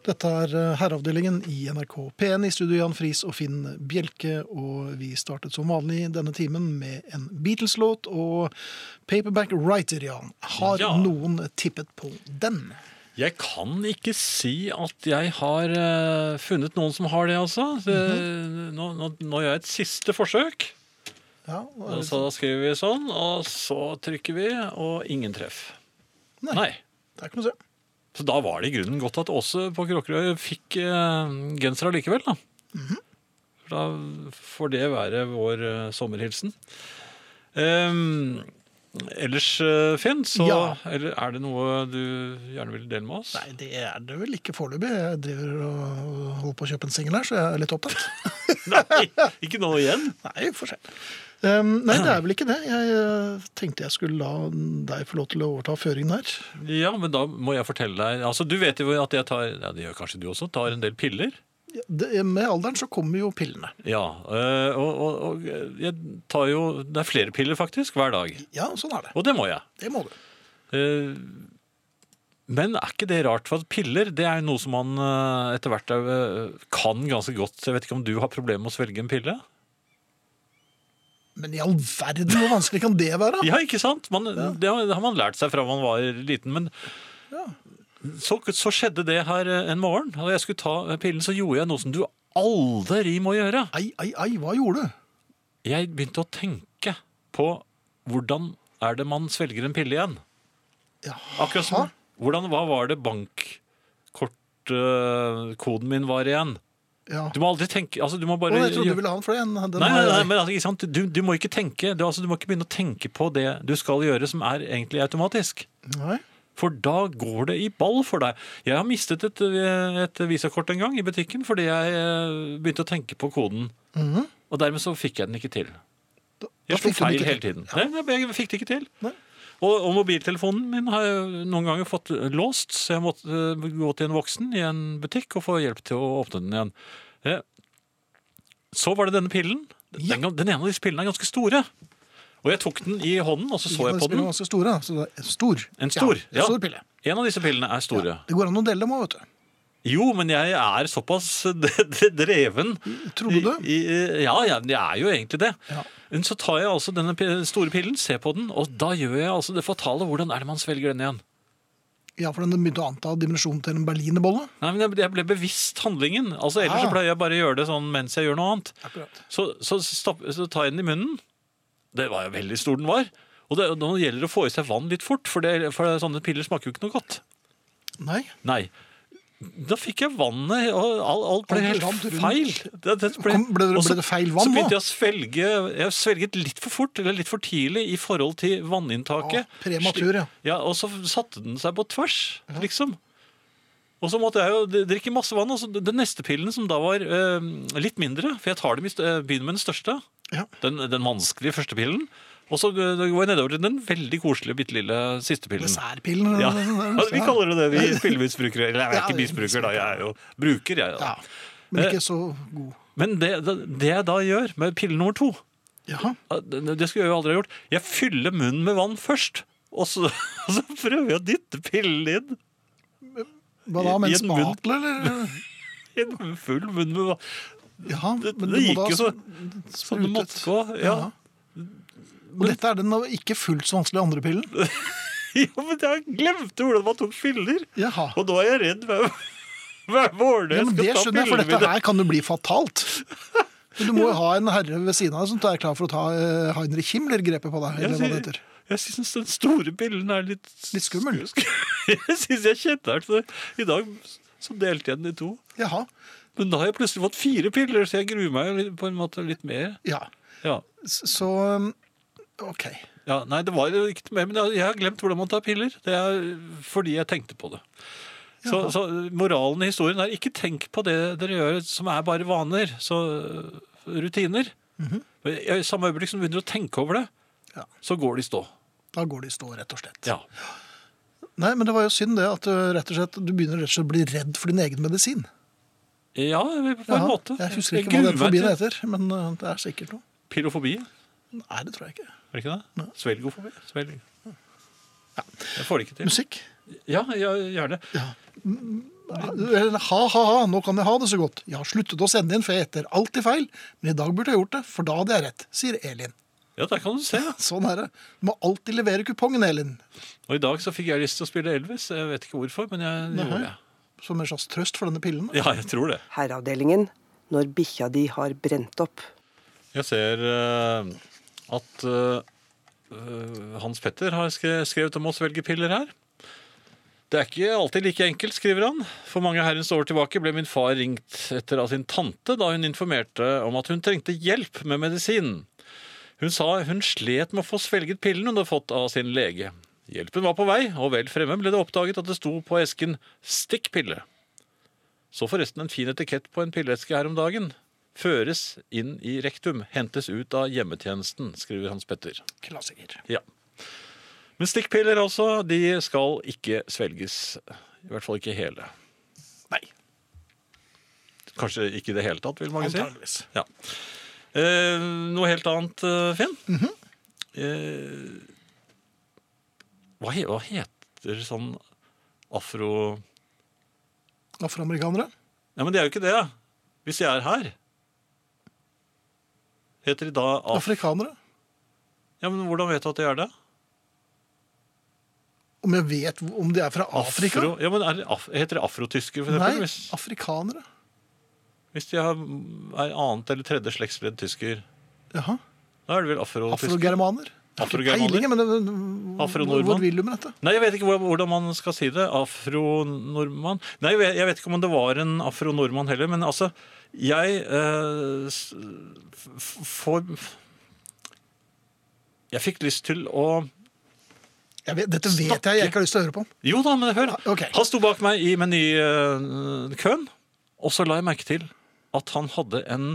Dette er eh, Herreavdelingen i NRK P1 i studio Jan Friis og Finn Bjelke. Og vi startet som vanlig denne timen med en Beatles-låt og Paperback Writer, Jan. Har
Ja.
noen tippet på den?
Jeg kan ikke si at jeg har eh, funnet noen som har det, altså. Det,
Mhm.
nå, nå, nå gjør jeg et siste forsøk.
Ja, hva er
Og
det?
så skriver vi sånn, og så trykker vi, og ingen treff.
Nei.
Nei.
det er ikke noe å se.
Så da var det i grunnen godt at Åse på Kråkerøy fikk eh, genser allikevel, da.
Mhm.
For da får det være vår eh, sommerhilsen. Ehm, ellers, eh, Finn, så
Ja.
eller, er det noe du gjerne vil dele med oss?
Nei, det er det vel ikke foreløpig. Jeg driver og holder på å kjøpe en singel her, så jeg er litt opptatt.
Nei, ikke nå igjen.
Nei, for seg. Um, nei, det er vel ikke det. Jeg eh, tenkte jeg skulle la deg få lov til å overta føringen her.
Ja, men da må jeg fortelle deg Altså, Du vet jo at jeg tar ja, det gjør kanskje du også, tar en del piller.
Ja, Det, eh, med alderen så kommer jo pillene.
Ja, øh, og, og, og jeg tar jo Det er flere piller faktisk hver dag.
Ja, sånn er det.
Og det må jeg.
Det må du.
Eh, Men er ikke det rart? For at piller det er noe som man eh, etter hvert eh, kan ganske godt. Jeg vet ikke om du har problemer med å svelge en pille?
Men i all verden, hvor vanskelig kan det være?
Ja, ikke sant? Man, Det har det har man lært seg fra man var liten, men så, så skjedde det her eh, en morgen. Da jeg skulle ta eh, pillen, så gjorde jeg noe som du aldri må gjøre.
Ei, ei, ei, hva gjorde du?
Jeg begynte å tenke på hvordan er det man svelger en pille igjen.
Jaha.
Akkurat som hvordan, Hva var det bankkortkoden min var igjen?
Ja.
Du må aldri tenke altså, du må
Å,
bare,
jeg trodde du ville ha den for den. den
Nei, nei,
har jeg-
nei, men altså, ikke sant? Du, du må ikke tenke du, altså, du må ikke begynne å tenke på det du skal gjøre som er egentlig automatisk.
nei.
For da går det i ball for deg. Jeg har mistet et, et visakort en gang i butikken fordi jeg eh, begynte å tenke på koden. Og dermed så fikk jeg den ikke til.
Mhm. da
Jeg slo
fikk du den
feil
ikke
hele
til.
tiden. Nei, nei, jeg fikk det ikke til.
Nei.
Og, og mobiltelefonen min har jeg noen ganger fått eh, låst, så jeg måtte eh, gå til en voksen i en butikk og få hjelp til å åpne den igjen. Eh, Så var det denne pillen.
Ja.
Den, den ene av disse pillene er ganske store. Og jeg tok den i hånden, og så så jeg på
Disse pillene er
den.
Ganske store, da. så det er stor.
En stor,
ja.
ja.
Stor pille.
En av disse pillene er store.
Det går an å dele dem òg, vet du.
Jo, men jeg er såpass d- d- dreven.
Trodde du?
I, i, ja, jeg, jeg er jo egentlig det.
Ja.
Men så tar jeg altså denne pi- store pillen, ser på den, og da gjør jeg altså det fatale. Hvordan er det man svelger den igjen?
Ja, for den begynte å anta dimensjonen til en berlinerbolle.
Nei, men jeg, jeg ble bevisst handlingen. Altså, Ellers
Ah.
så pleier jeg bare å gjøre det sånn mens jeg gjør noe annet.
Akkurat.
Så, så, stapp, så tar jeg den i munnen. Det var jo veldig stor den var. Og det, nå gjelder det å få i seg vann litt fort, for, det, for sånne piller smaker jo ikke noe godt.
Nei.
Nei. Da fikk jeg vannet, og alt, alt ble
Alt
helt
rant rundt.
feil. Det, det
Kom- ble det-
og så-
ble det feil vann
Så
nå?
begynte jeg å svelge Jeg svelget litt for fort, eller litt for tidlig, i forhold til vanninntaket.
Ah, prematur, ja.
ja. Og så satte den seg på tvers, liksom. Og så måtte jeg jo d- drikke masse vann. Og så den neste pillen, som da var eh, litt mindre For jeg tar dem i st- eh, øh, begynner med den største.
Ja.
Den, den vanskelige første pillen. Og så eh, går jeg nedover til den veldig koselige, bitte lille sistepillen.
Dessertpillen.
Ja.
eller noe
Altså,
sånt.
vi kaller det det, vi spillemisbrukere. Eller jeg er
Ja,
ikke misbruker, da. Jeg er jo bruker, jeg.
ja.
Da.
Men ikke så god.
Men det, det, det jeg da gjør med pille nummer to,
Jaha.
det, det skulle jeg jo aldri ha gjort, jeg fyller munnen med vann først. Og så, og så prøver jeg å dytte pillen inn.
Hva da,
I-
med
i
en
en munn.
spatel, eller?
I en full munn med vann.
Ja,
Det,
men
det,
du må
gikk
da
jo så, som det
sprute
måtte
ut.
gå. Ja.
Ja. Og dette er den ikke fullt så vanskelige andre pillen.
ja, men jeg glemte hvordan man tok piller.
Jaha.
Og nå er jeg redd hver, hver morgen
Ja,
jeg
men
skal
det
ta
skjønner jeg, for
pillene
dette
mine.
her kan jo bli fatalt. Men du må jo ha en herre ved siden av deg som er klar for å ta eh, Heinrich Himmler-grepet på deg.
Jeg
eller hva det
sy-
heter.
Jeg syns den store pillen er litt
Litt skummel.
sk- sk- Jeg syns jeg kjente den. så I dag så delte jeg den i to.
Jaha,
Men da har jeg plutselig fått fire piller, så jeg gruer meg jo litt- på en måte litt mer.
ja.
Ja.
S- Så um, OK.
Ja, nei, det var jo ikke mer, men jeg har glemt hvordan man tar piller. Det er fordi jeg tenkte på det. Så, så moralen i historien er ikke tenk på det dere gjør som er bare vaner, så øh, rutiner. Men I samme øyeblikk som du begynner å tenke over det,
Mhm. Ja.
så går de i stå.
Da går de i stå, rett og slett.
Ja.
Nei, men det var jo synd det at du, rett og slett, du begynner rett og slett å bli redd for din egen medisin.
Ja, på en
Jaha,
måte.
Jeg husker ikke hva
gruer
den
meg
fobien
til
heter, men uh, det er sikkert noe.
Pilofobi, er
Nei, det tror jeg ikke.
det ikke det? Svelgofobi? Svelg. Jeg får det ikke til.
Musikk?
Ja, ja gjerne.
Eller, eh, Ha, ha, ha, nå kan jeg ha det så godt. Jeg har sluttet å sende inn, for jeg gjetter alltid feil. Men i dag burde jeg gjort det, for da hadde jeg rett, sier Elin.
Ja, der kan du se.
Sånn er det. Du må alltid levere kupongen, Elin.
Og i dag så fikk jeg lyst til å spille Elvis. Jeg vet ikke hvorfor, men jeg det gjorde det.
Som en slags trøst for denne pillen.
Ja, jeg tror det.
Herreavdelingen når bikkja di har brent opp.
Jeg ser eh, at eh, Hans Petter har skre- skrevet om å svelge piller her. Det er ikke alltid like enkelt, skriver han. For mange herrens år tilbake ble min far ringt etter av sin tante da hun informerte om at hun trengte hjelp med medisin. Hun sa hun slet med å få svelget pillen hun hadde fått av sin lege. Hjelpen var på vei, og vel fremme ble det oppdaget at det sto på esken 'stikk pille'. Så forresten en fin etikett på en pilleske her om dagen. Føres inn i rektum, hentes ut av hjemmetjenesten, skriver Hans Petter.
Klassiker.
Ja. Men stikkpiller altså, de skal ikke svelges. I hvert fall ikke hele.
Nei.
Kanskje ikke i det hele tatt, vil mange si.
Antageligvis.
Ja. Eh, noe helt annet, eh, Finn.
Mhm.
eh, hva, he hva heter sånn afro...
Afroamerikanere?
Nei, men det er jo ikke det. Hvis jeg er her Heter de da af...
Afrikanere?
Ja, men Hvordan vet du at de er det?
Om jeg vet hvor- om de er fra Afrika?
Afro... Ja, men er det af... Heter de afrotyskere, for
Nei,
eksempel? Hvis,
afrikanere.
hvis de har- er annet eller tredje slektsledd tysker,
Jaha.
da er det vel afrotysker?
Afrogermaner? Jeg har ikke
Afrogermaner?
peiling, men det-
Afronordmann?
Hvor vil du med dette?
Nei, jeg vet ikke hvordan- hvordan man skal si det. Afronordmann Nei, jeg vet- jeg vet ikke om det var en afronordmann heller, men altså Jeg eh, s- f- får Jeg fikk lyst til å
Jeg vet, dette vet jeg jeg ikke har lyst til å høre på.
Jo da, men hør.
Ok.
Han sto bak meg i menykøen, og så la jeg merke til at han hadde en,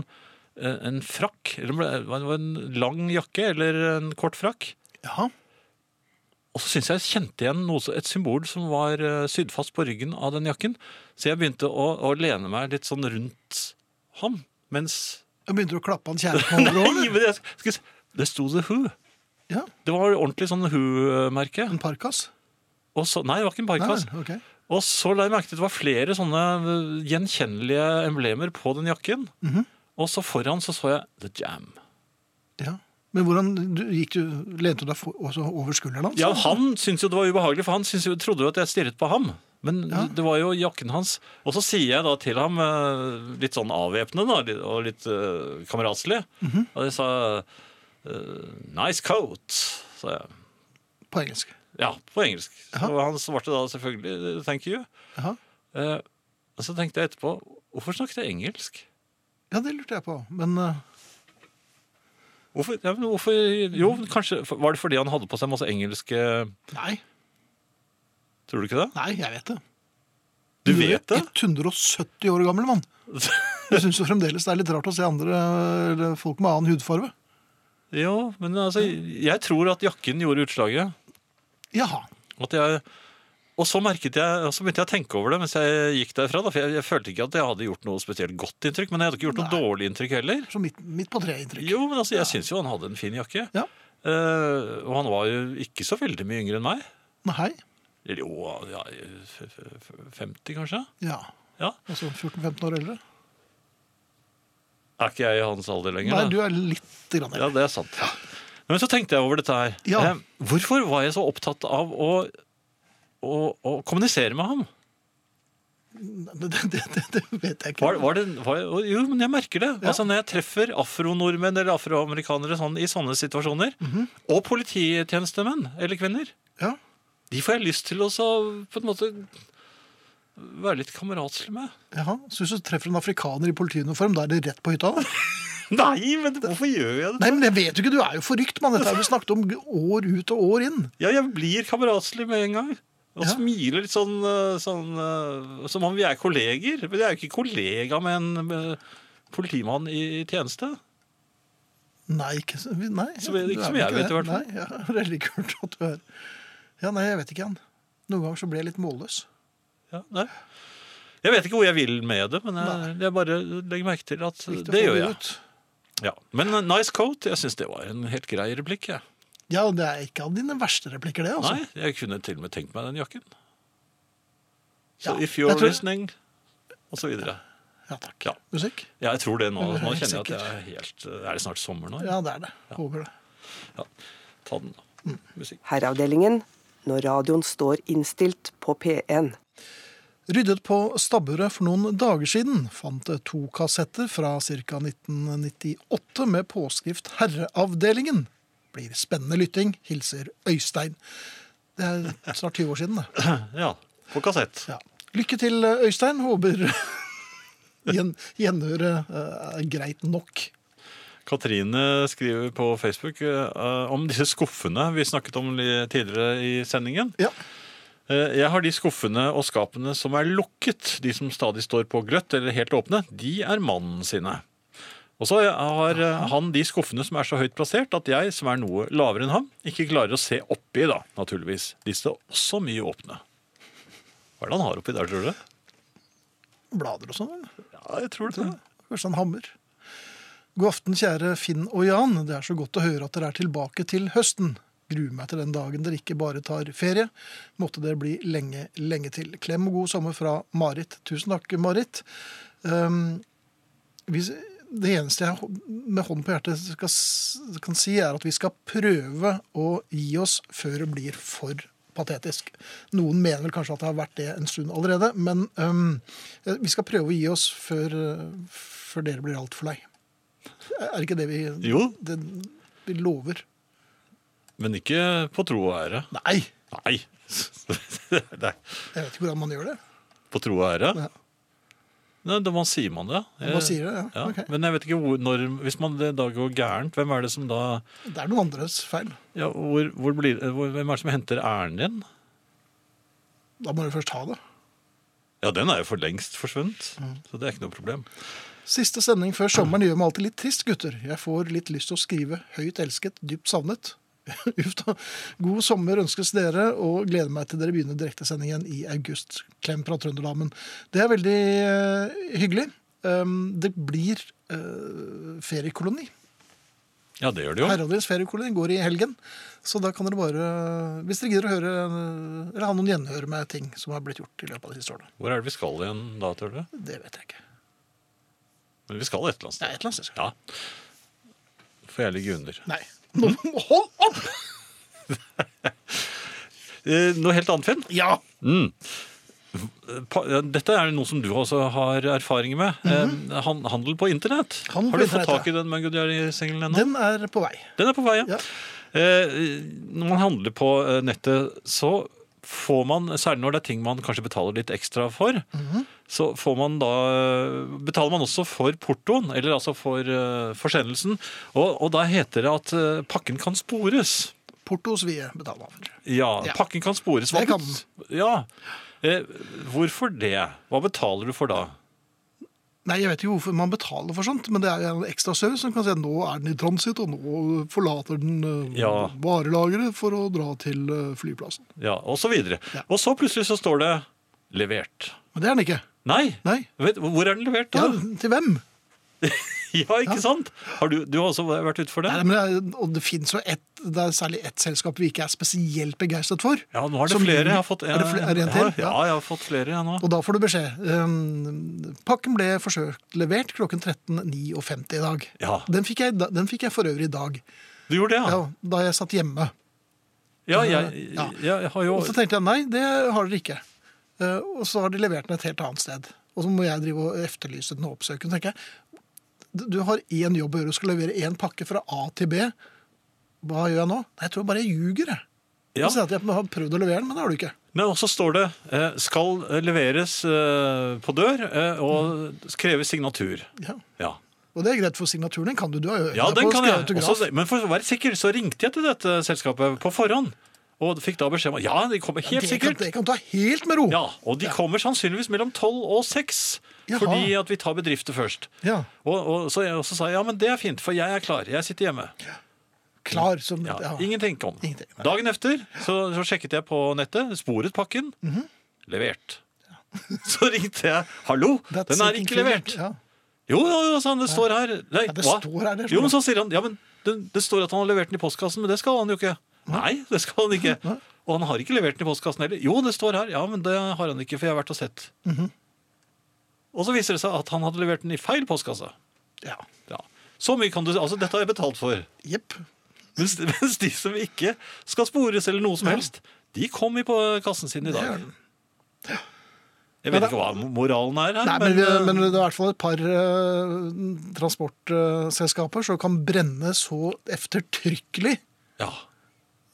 eh, en frakk, eller det var en lang jakke eller en kort frakk.
Jaha.
Og så syns jeg jeg kjente igjen noe, så- et symbol som var eh, sydd fast på ryggen av den jakken. Så jeg begynte å, å lene meg litt sånn rundt ham. Mens
Jeg begynte du å klappe han kjære på hodet?
Nei, men jeg skal si Det sto The Who.
Ja,
Det var ordentlig sånn Who-merke.
en parkas?
Og så- Nei, det var ikke
Nei,
en parkas.
vel, ok.
Og så la jeg merke til at det var flere sånne øh, gjenkjennelige emblemer på den jakken. Og så foran så så jeg The Jam.
Ja. Men hvordan du, gikk du, lente du deg for, også over skulderen hans?
Ja, Han syntes jo det var ubehagelig, for han syntes jo, trodde jo at jeg stirret på ham. Men
Ja.
det var jo jakken hans. Og så sier jeg da til ham, øh, litt sånn avvæpnende da, litt- og litt øh, kameratslig, og jeg sa øh, 'nice coat', sa jeg.
På engelsk.
Ja, på engelsk.
Jaha.
Og han svarte da selvfølgelig 'thank you'.
Jaha.
Eh, og så tenkte jeg etterpå, hvorfor snakket jeg engelsk?
Ja, det lurte jeg på. Men eh,
Hvorfor, ja, men hvorfor Jo, kanskje Var det fordi han hadde på seg masse engelske
nei,
Tror du ikke det?
nei, jeg vet det.
Du
er
vet det?
170 år gammel mann. Jeg syns fremdeles det er litt rart å se andre eller folk med annen hudfarge.
Jo, men altså, jeg tror at jakken gjorde utslaget.
Jaha.
At jeg, og så, merket jeg, og så begynte jeg å tenke over det mens jeg gikk derfra. Da, for jeg, jeg følte ikke at jeg hadde gjort noe spesielt godt inntrykk, men jeg hadde ikke gjort noe
Nei.
dårlig inntrykk heller.
Så midt, midt på treet-inntrykk.
Jo, men altså, jeg syns jo han hadde en fin jakke.
Ja.
Eh, og han var jo ikke så veldig mye yngre enn meg.
Nei.
Eller jo, ja, f- f- 50 kanskje?
Ja.
Ja.
Altså 14-15 år eldre.
Er ikke jeg i hans alder lenger?
Nei,
da?
du er litt grann
Ja,
eldre.
det er sant. Men så tenkte jeg over dette her.
Ja.
Eh, Hvorfor var jeg så opptatt av å, å, å kommunisere med ham?
Det, det, det, det vet jeg ikke.
Var, var det, var, jo, men jeg merker det.
Ja.
Altså Når jeg treffer afronordmenn eller afroamerikanere sånn, i sånne situasjoner, og polititjenestemenn eller -kvinner,
Ja.
de får jeg lyst til å så, på en måte være litt kameratslig med.
Jaha. Så hvis du treffer en afrikaner i politiuniform, da er det rett på hytta? da?
Nei, men hvorfor gjør jeg det?
Nei, men jeg vet jo ikke, du er jo forrykt, mann. Dette har vi snakket om år ut og år inn.
Ja, jeg blir kameratslig med en gang. Og
Ja.
smiler litt sånn, eh, sånn eh, som om vi er kolleger. Men jeg er jo ikke kollega med en eh, politimann i i tjeneste.
Nei, ikke, så- vi- nei
Som- ikke
du er
som
vel
jeg vet,
det.
i hvert fall.
Nei, ja, det er like kult at du er. Ja, nei, jeg vet ikke, han. Noen ganger så blir jeg litt målløs.
Ja, nei. Jeg vet ikke hvor jeg vil med det, men jeg, jeg bare legger merke til at
Viktig å
det
få
gjør jeg.
ut.
Ja. Men eh, nice coat, jeg syns det var en helt grei replikk. Jeg.
Ja, det er ikke av dine verste replikker, det, altså.
Nei, jeg kunne til og med tenkt meg den jakken. Så
Ja,
if you're
jeg tror-
listening, og så videre.
Ja, takk.
Ja.
Musikk?
Ja, jeg tror det nå.
Jeg er
Nå
helt
kjenner jeg at
sikker.
jeg er helt eh, Er det snart sommer nå?
Ja, det er det. Håper det.
Ta den, da. Musikk.
Herreavdelingen når radioen står innstilt på P1.
Ryddet på stabburet for noen dager siden fant jeg to kassetter fra ca. 1998 med påskrift 'Herreavdelingen'. Blir spennende lytting. Hilser Øystein. Det er snart 20 år siden, det.
Ja. På kassett.
Ja. Lykke til, Øystein. Håper gjen, gjenhøret eh, er greit nok.
Katrine skriver på Facebook eh, om disse skuffene vi snakket om li- tidligere i sendingen.
Ja.
Eh, Jeg har de skuffene og skapene som er lukket, de som stadig står på gløtt eller helt åpne, de er mannen sine. Og så har eh, han de skuffene som er så høyt plassert at jeg, som er noe lavere enn ham, ikke klarer å se oppi da, naturligvis. De står også mye åpne. Hva er det han har oppi der, tror du?
Blader og sånn. eller?
Ja, jeg tror det.
Kanskje en hammer. God aften, kjære Finn og Jan. Det er så godt å høre at dere er tilbake til høsten. Gruer meg til den dagen dere ikke bare tar ferie. Måtte dere bli lenge, lenge til. Klem og god sommer fra Marit. Tusen takk, Marit. Um, hvis, det eneste jeg med hånden på hjertet skal, s- kan si, er at vi skal prøve å gi oss før det blir for patetisk. Noen mener vel kanskje at det har vært det en stund allerede, men øhm, eh, vi skal prøve å gi oss før, øh, før dere blir altfor lei. Er ikke det vi,
Jo,
det vi lover?
men ikke på tro og ære.
Nei!
Nei. Nei.
Jeg vet ikke hvordan man gjør det.
På tro og ære?
Ja.
Nei, da man sier man det.
Man sier det, ja.
Ja,
Ok.
Men jeg vet ikke hvor, når, hvis man det da går gærent, hvem er det som da
Det er noen andres feil.
ja, hvor, hvor blir, hvor, Hvem er det som henter æren din?
Da må du først ha det.
Ja, den er jo for lengst forsvunnet,
Mm.
så det er ikke noe problem.
Siste sending før sommeren gjør meg alltid litt trist, gutter. Jeg får litt lyst til å skrive 'høyt elsket, dypt savnet'. Uff da. God sommer ønskes dere, og gleder meg til dere begynner direktesendingen i august. Klem fra Trønderdamen. Det er veldig eh, hyggelig. Um, det blir eh, feriekoloni.
Ja, det gjør det jo.
Herreavdelingens feriekoloni går i helgen. Så da kan dere bare, hvis dere gidder å høre, eh, eller ha noen gjenhør med ting som har blitt gjort i løpet av de siste årene.
Hvor er det vi skal igjen da, tror du?
Det vet jeg ikke.
Men vi skal et eller annet
Ja, et eller annet sted skal
Ja. Får jeg ligge under.
Nei. Nå, hold opp!
Eh, noe helt annet, Finn?
Ja!
Mm. Pa- ja, Dette er noe som du også har erfaringer med. Eh, han- Handel på internett.
Mhm. Handel
har du
på
fått
internett,
tak i den Mango Diary-singelen ennå?
Den er på vei.
Den er på vei, ja.
Ja.
Eh, Når man handler på eh, nettet, så får man, særlig når det er ting man kanskje betaler litt ekstra for,
Mhm.
så får man da, betaler man også for portoen, eller altså for eh, forsendelsen. Og, og da heter det at eh, pakken kan spores.
Porto svie betaler man for.
Ja,
Ja.
pakken kan spores.
Det kan
bet- Ja. Eh, hvorfor det? Hva betaler du for da?
Nei, jeg vet ikke hvorfor man betaler for sånt, men det er jo en ekstra service som kan si at nå er den i transit, og nå forlater den eh,
Ja.
varelageret for å dra til eh, flyplassen.
Ja, og så videre.
Ja.
Og så plutselig så står det levert.
Men det er den ikke.
Nei!
Nei.
Vet, hvor er den levert?
Ja,
da?
til hvem?
Ja, ikke sant? Har du, du har også vært ute for det?
Nei, men det er, og det finnes jo ett, det er særlig ett selskap vi ikke er spesielt begeistret for.
Ja, nå er det
Som-
flere. Jeg har fått
Er det flere? Er det en til?
Ja, ja, jeg har fått flere jeg nå.
Og da får du beskjed. Ehm, pakken ble forsøkt levert klokken 13.59 i dag.
Ja.
Den, fikk jeg, den fikk jeg for øvrig i dag,
Du gjorde det,
ja.
ja?
da jeg satt hjemme.
Ja, jeg,
Ja.
jeg, jeg har jo
Og så tenkte jeg nei, det har dere ikke. Eh, og så har de levert den et helt annet sted. Og så må jeg drive og efterlyse den og oppsøke den. tenker jeg. Du du har én jobb å gjøre, du skal levere én pakke fra A til B. Hva gjør jeg nå? Nei, jeg tror bare jeg ljuger. jeg.
ja.
Og sier at jeg har prøvd å levere den, men det har du ikke.
Nei, og så står det eh, 'skal leveres eh, på dør' eh,
Mm.
og kreves signatur.
Ja.
Ja,
Og det er greit, for signaturen din kan du. Du har jo øvd
ja
deg
den
på å
kan
skrive
jeg.
autograf.
Også, men for å være sikker, så ringte jeg til dette selskapet på forhånd. Og fikk da beskjed om at ja, de kommer helt
det, kan,
sikkert.
det kan ta helt med ro.
Ja, Og de kommer sannsynligvis mellom tolv og seks.
Jaha.
Fordi at vi tar bedrifter først.
Ja.
Og, og så jeg også sa ja, men det er fint, for jeg er klar. Jeg sitter hjemme.
Klar som
Ja,
ja.
Ingenting kom.
Ingenting, nei.
Dagen etter så, så sjekket jeg på nettet, sporet pakken.
Mhm.
Levert. Så ringte jeg 'hallo,
That's
den er
it,
ikke
included.
levert'.
Ja.
Jo, jo, jo, sa han, det står her. Nei,
Ja, det
hva?
står her, det står
jo, men
det.
så sier han, ja, men det, det står at han har levert den i postkassen, men det skal han jo ikke. Nei, det skal han ikke. Og han har ikke levert den i postkassen heller. Jo, det står her. Ja, men det har han ikke, for jeg har vært og sett.
Mhm.
Og så viser det seg at han hadde levert den i feil postkasse.
Ja.
Ja. Så mye kan du, altså dette har jeg betalt for.
Jepp.
Mens, mens de som ikke skal spores eller noe som helst, de kom i på kassen sin i dag. Jeg vet ikke hva moralen er her,
Nei, men, vi-
men, eh,
men det er i hvert fall et par eh, transportselskaper som kan brenne så eftertrykkelig
ja,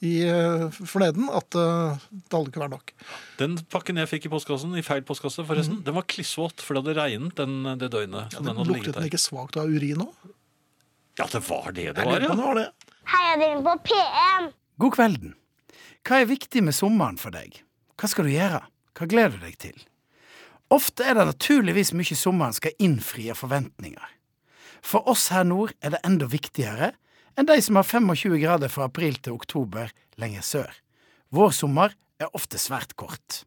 i eh, forneden at eh, det aldri kunne være nok.
den pakken jeg fikk i postkassen, i feil postkasse forresten, den var klissvåt, for det hadde regnet den, det døgnet. som den hadde
Luktet
ligget
Mhm. den
der.
ikke svakt av urin òg?
Ja, det var det det var,
Ja,
ja.
det var det.
Heiavdelingen på P1.
God kvelden. Hva er viktig med sommeren for deg? Hva skal du gjøre? Hva gleder du deg til? Ofte er det naturligvis mye sommeren skal innfri av forventninger. For oss her nord er det enda viktigere enn de som har 25 grader fra april til oktober lenger sør. Vår sommer er ofte svært kort.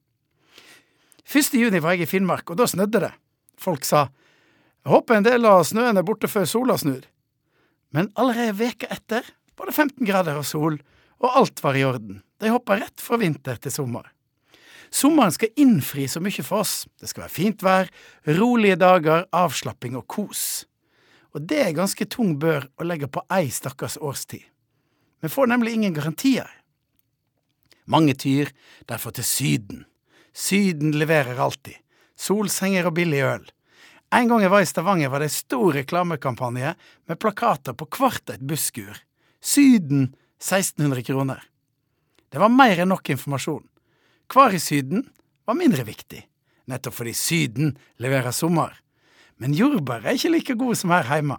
1. juni var jeg i Finnmark, og da snødde det. Folk sa jeg håper en del av snøen er borte før sola snur. Men allerede veka etter var det 15 grader og sol, og alt var i orden. De hoppa rett fra vinter til sommer. Sommeren skal innfri så mye for oss. Det skal være fint vær, rolige dager, avslapping og kos. Og det er ganske tung bør å legge på ei stakkars årstid. Vi får nemlig ingen garantier. Mange tyr derfor til Syden. Syden leverer alltid. Solsenger og billig øl. En gang jeg var i Stavanger, var det en stor reklamekampanje med plakater på hvert et busskur. Syden 1600 kroner. Det var mer enn nok informasjon. Hver i Syden var mindre viktig, nettopp fordi Syden leverer sommer. Men jordbær er ikke like gode som her hjemme.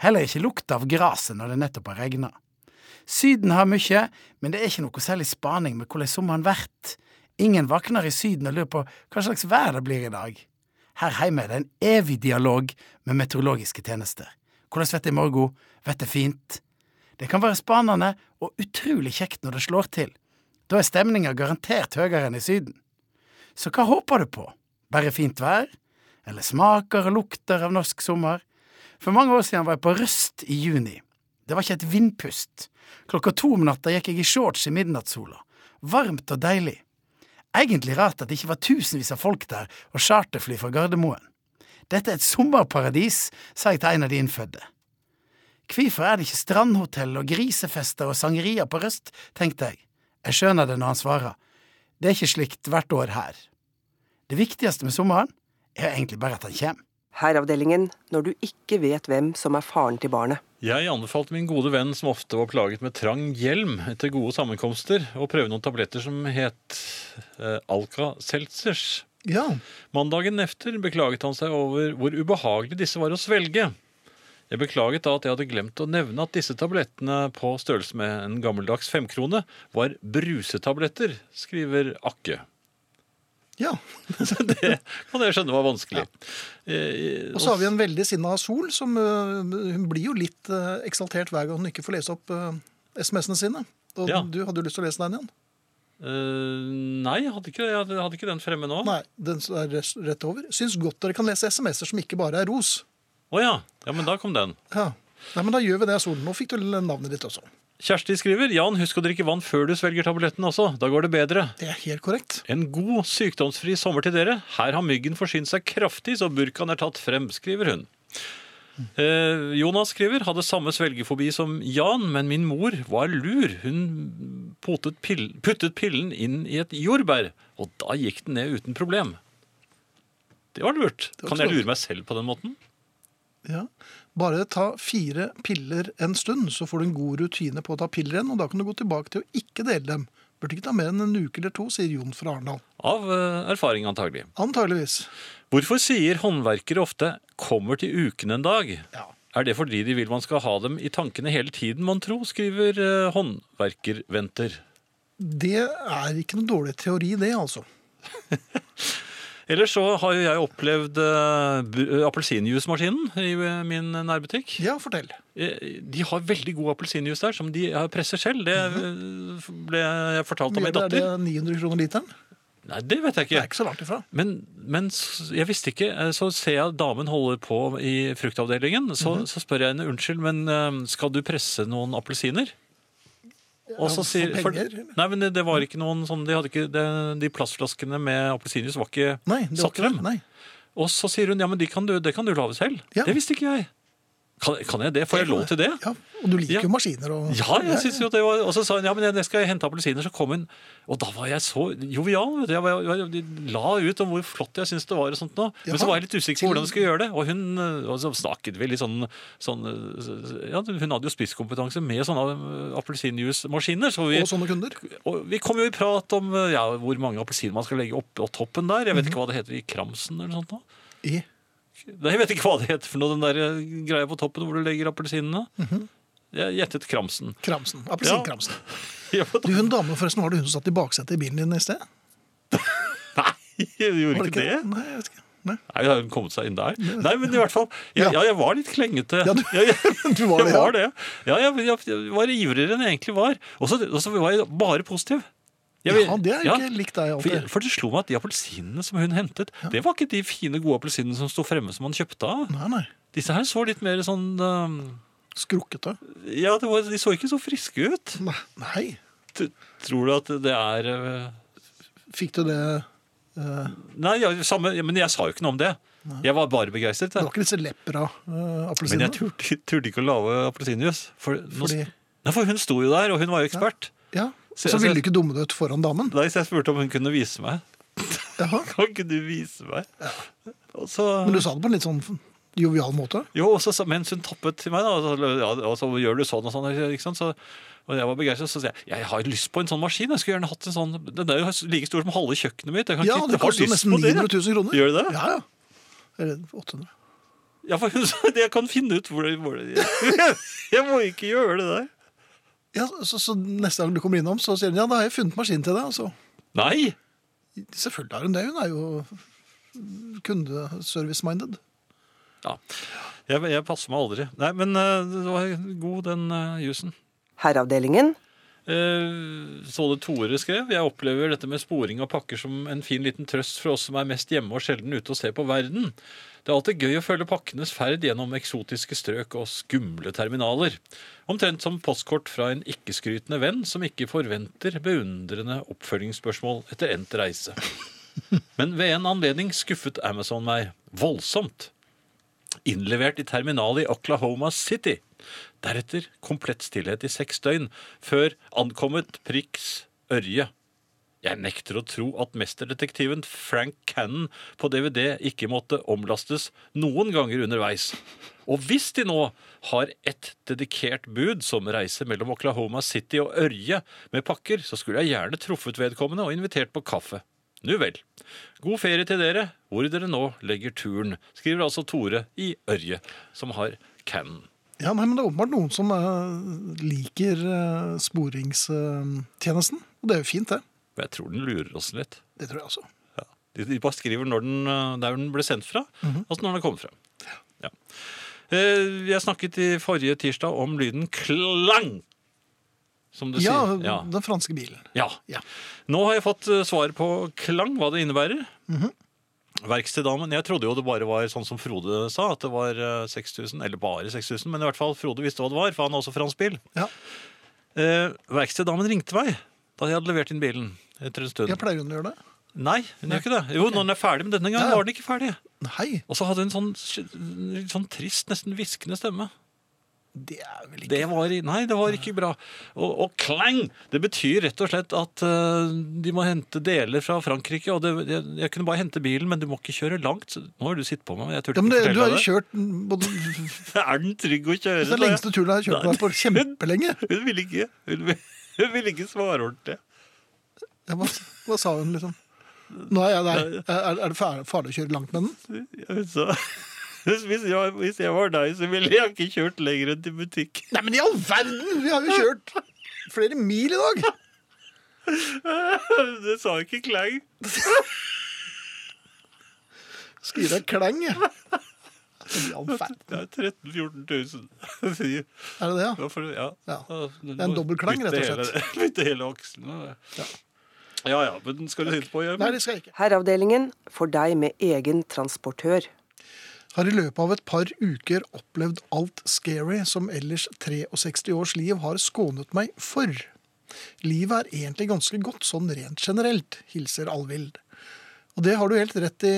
Heller ikke lukta av gresset når det nettopp har regna. Syden har mye, men det er ikke noe særlig spaning med hvordan sommeren blir. Ingen våkner i Syden og lurer på hva slags vær det blir i dag. Her hjemme er det en evig dialog med meteorologiske tjenester. Hvordan vet det i morgen? Vet det fint? Det kan være spanende og utrolig kjekt når det slår til. Da er stemninga garantert høyere enn i Syden. Så hva håper du på? Bare fint vær? Eller smaker og lukter av norsk sommer? For mange år siden var jeg på Røst i juni. Det var ikke et vindpust. Klokka to om natta gikk jeg i shorts i midnattssola. Varmt og deilig. Egentlig rart at det ikke var tusenvis av folk der og charterfly fra Gardermoen. Dette er et sommerparadis, sa jeg til en av de innfødte. Hvorfor er det ikke strandhotell og grisefester og sangerier på Røst, tenkte jeg. Jeg skjønner det når han svarer. Det er ikke slikt hvert år her. Det viktigste med sommeren er egentlig bare at han kommer.
Herreavdelingen når du ikke vet hvem som er faren til barnet.
Jeg anbefalte min gode venn, som ofte var plaget med trang hjelm etter gode sammenkomster, å prøve noen tabletter som het eh, Alka-Seltzers.
Ja.
Mandagen efter beklaget han seg over hvor ubehagelig disse var å svelge. Jeg beklaget da at jeg hadde glemt å nevne at disse tablettene på størrelse med en gammeldags femkrone var brusetabletter, skriver Akke.
Ja.
Det kan jeg skjønne var vanskelig. Eh,
Og så har vi en veldig sinna Sol, som øh, hun blir jo litt øh, eksaltert hver gang hun ikke får lese opp øh, SMS-ene sine. Og
Ja.
du hadde jo lyst til å lese den igjen?
eh, Nei, jeg hadde ikke, jeg hadde- hadde ikke den fremme nå.
Nei, den er res- rett over. Syns godt dere kan lese SMS-er som ikke bare er ros.
Å ja. ja, men da kom den.
Ja. Nei, men da gjør vi det, Sol. Nå fikk du navnet ditt også.
Kjersti skriver Jan, husk å drikke vann før du svelger tabletten også. Da går det bedre.
Det er helt korrekt.
En god, sykdomsfri sommer til dere. Her har myggen forsynt seg kraftig, så burkaen er tatt frem, skriver hun. Eh, Jonas skriver hadde samme svelgefobi som Jan, men min mor var lur. Hun potet pill, puttet pillen inn i et jordbær, og da gikk den ned uten problem. Det var lurt.
Det var
Kan jeg
klokt.
lure meg selv på den måten?
Ja. Bare ta fire piller en stund, så får du en god rutine på å ta piller igjen, og da kan du gå tilbake til å ikke dele dem. Burde ikke ta mer enn en uke eller to, sier Jon fra Arendal.
Av eh, erfaring, antagelig.
Antageligvis.
Hvorfor sier håndverkere ofte 'kommer til uken en dag'?
Ja.
Er det fordi de vil man skal ha dem i tankene hele tiden, mon tro, skriver eh, håndverkerventer.
Det er ikke noe dårlig teori, det, altså.
Ellers så har jo jeg opplevd eh, bu- appelsinjuicemaskinen i eh, min nærbutikk.
Ja, fortell.
Eh, De har veldig god appelsinjuice der, som de eh, presser selv. Det eh, ble jeg fortalt av min
er Mhm. det
datter.
900 kroner literen?
Nei, det vet jeg
Det er
ikke.
ikke så langt ifra.
Men, men s- jeg visste ikke, eh, så ser jeg damen holder på i fruktavdelingen. Så,
Mhm.
så spør jeg henne unnskyld, men eh, skal du presse noen appelsiner? Og så
for
sier, for,
penger, eller?
nei, men det, det var ikke noen sånn, de, hadde ikke, de, de plastflaskene med appelsinjuice var ikke
Nei, det var
satt
ikke
frem.
det. Nei.
Og så sier hun ja, men de kan du, det kan du lage selv.
Ja.
Det visste ikke jeg. Kan, kan jeg det? Får jeg lov til det?
Ja, og du liker
Ja.
jo maskiner og
Ja, jeg synes jo det var Og så sa hun ja, men jeg jeg skal hente appelsiner. Så kom hun, og da var jeg så jovial. vet du. Jeg, var, jeg, jeg la ut om hvor flott jeg syntes det var. og sånt nå. Men så
Jaha.
var jeg litt usikker på hvordan jeg skulle gjøre det. Og hun eh, og så snakket vi litt sånn, sånn eh, ja, Hun hadde jo spisskompetanse med sånne eh, appelsinjuicemaskiner. Så vi,
Og sånne kunder.
og vi kom jo i prat om eh, ja, hvor mange appelsiner man skal legge oppå toppen der. Jeg vet ikke hva det heter i Kramsen eller noe sånt. nå.
I.
Nei, Jeg vet ikke hva det heter for noe, den der eh, greia på toppen hvor du legger appelsinene. Jeg gjettet Kramsen.
Kramsen. Appelsinkramsen.
Ja, men
Du, hun dame, forresten, var det hun som satt i baksetet i bilen din i sted?
Nei, jeg
Var
gjorde ikke det.
Nei, jeg vet ikke. Nei.
Nei, har hun kommet seg inn der? Nei, men i hvert fall, jeg,
Ja.
ja, jeg var litt klengete.
Ja, du-
jeg, jeg,
Du var det,
jeg
ja.
var det. Ja, jeg, jeg, jeg var ivrigere enn jeg egentlig var. Og så og så var jeg bare positiv. Jeg vil-
Ja, det er
ja,
ikke likt deg
For,
alltid.
for det slo meg at de appelsinene som hun hentet, det var ikke de fine, gode appelsinene som sto fremme som man kjøpte av.
Nei, nei.
Disse her så litt mer sånn um,
Skrukkete.
Ja, det var, de så ikke så friske ut.
Nei. nei.
T- Tror du at det er uh,
Fikk du det eh,
Nei, ja, samme, men jeg sa jo ikke noe om det. Jeg var bare begeistret.
Det
jeg.
var ikke disse eh,
Men
lepra-appelsinene?
jeg turte, turte ikke å lage appelsinjuice. For, nå-
Fordi-
Nei, for hun sto jo der, og hun var jo ekspert.
ja.
Se-
Så,
altså-
ville du ikke dumme deg ut foran damen?
Nei, så jeg spurte om hun kunne vise meg.
Jaha.
Kan ikke du vise meg? Og så,
Men du sa det på en litt sånn jovial måte?
jo, og så, sa- mens hun tappet til meg, da, og så, ja, og så gjør du sånn og sånn, ikke sant? Så, og jeg var begeistret, så sier jeg jeg har lyst på en sånn maskin. Jeg skulle gjerne hatt en sånn Den er jo like stor som halve kjøkkenet mitt. Jeg kan
Ja,
ikke,
det
jeg har
koster jo
lyst
nesten
på det.
900 000 kroner.
Gjør det det?
Ja, ja. Eller 800.
Ja, for hun sa jeg kan finne ut hvor det, hvor det jeg, jeg må ikke gjøre det der.
Ja, så, så neste gang du kommer innom, så sier hun ja, da har jeg funnet maskinen til deg. Altså.
Nei!
Selvfølgelig har hun det. Hun er jo kundeservice-minded.
Ja. Jeg, jeg passer meg aldri. Nei, men eh, det var god, den eh, jusen.
Herreavdelingen.
Eh, Så det Tore skrev. Jeg opplever dette med sporing av pakker som en fin liten trøst for oss som er mest hjemme og sjelden ute og ser på verden. Det er alltid gøy å følge pakkenes ferd gjennom eksotiske strøk og skumle terminaler. Omtrent som postkort fra en ikke-skrytende venn som ikke forventer beundrende oppfølgingsspørsmål etter endt reise. Men ved en anledning skuffet Amazon meg voldsomt. Innlevert i terminal i Oklahoma City. Deretter komplett stillhet i seks døgn, før ankommet Prix Ørje. Jeg nekter å tro at mesterdetektiven Frank Cannon på DVD ikke måtte omlastes noen ganger underveis. Og hvis de nå har ett dedikert bud som reiser mellom Oklahoma City og Ørje med pakker, så skulle jeg gjerne truffet vedkommende og invitert på kaffe. Nu vel. God ferie til dere, hvor dere nå legger turen, skriver altså Tore i Ørje, som har Cannon.
Ja, nei, men Det er åpenbart noen som eh, liker eh, sporingstjenesten. Og det er jo fint, det.
Og jeg tror den lurer oss litt.
Det tror jeg også.
De, de bare skriver når den, eh, der den ble sendt fra,
Mhm.
altså når den kom frem. Ja. Eh, Jeg snakket i forrige tirsdag om lyden klang, som du
Ja,
sier. Ja.
den franske bilen.
Ja.
Ja.
Nå har jeg fått eh, svar på klang, hva det innebærer.
Mhm.
Verksteddamen, Jeg trodde jo det bare var sånn som Frode sa, at det var eh, 6000. Eller bare 6000, men i hvert fall Frode visste hva det var, for han har også fransk bil.
Ja.
Eh, verksteddamen ringte meg da jeg hadde levert inn bilen etter en stund.
Jeg pleier hun å gjøre det.
Nei, hun gjør ikke det. Jo, når den er ferdig, men denne gangen
Ja.
var den ikke ferdig.
Nei,
Og så hadde hun en sånn, sk- litt sånn trist, nesten hviskende stemme.
det er vel ikke
Det var, i- nei, det var ikke bra. Og, og klang! Det betyr rett og slett at eh, de må hente deler fra Frankrike. Og det, jeg, jeg kunne bare hente bilen, men du må ikke kjøre langt. Så Nå har du sittet på meg. Jeg turte
ja, men det,
ikke
Du har jo
fortelle
kjørt den både, det
deg det. Er den trygg å kjøre?
er den
sa jeg.
lengste turen jeg har kjørt meg på kjempelenge.
Hun ville ikke, hun vil- hun ville ikke svare ordentlig.
Ja, hva, hva sa hun, liksom? Nå er jeg der. Er, er det far- farlig å kjøre langt med den?
Hun sa hvis jeg, hvis jeg var deg, så ville jeg ikke kjørt lenger enn til butikk.
Nei, men i all verden! Vi har jo kjørt flere mil i dag!
Det sa ikke Klang.
Skal gi deg klang, jeg. I all verden.
Det er 13 000-14 000.
Er det det, ja?
Ja, for, ja.
Ja.
Det
er en dobbel klang, rett og slett.
Bytte hele aksen. og- Ja ja, men skal du sitte på å gjøre
Nei, det skal jeg ikke.
Herreavdelingen for deg med egen transportør.
har i løpet av et par uker opplevd alt scary som ellers 63 års liv har skånet meg for. Livet er egentlig ganske godt sånn rent generelt, hilser Alvild. Og det har du helt rett i,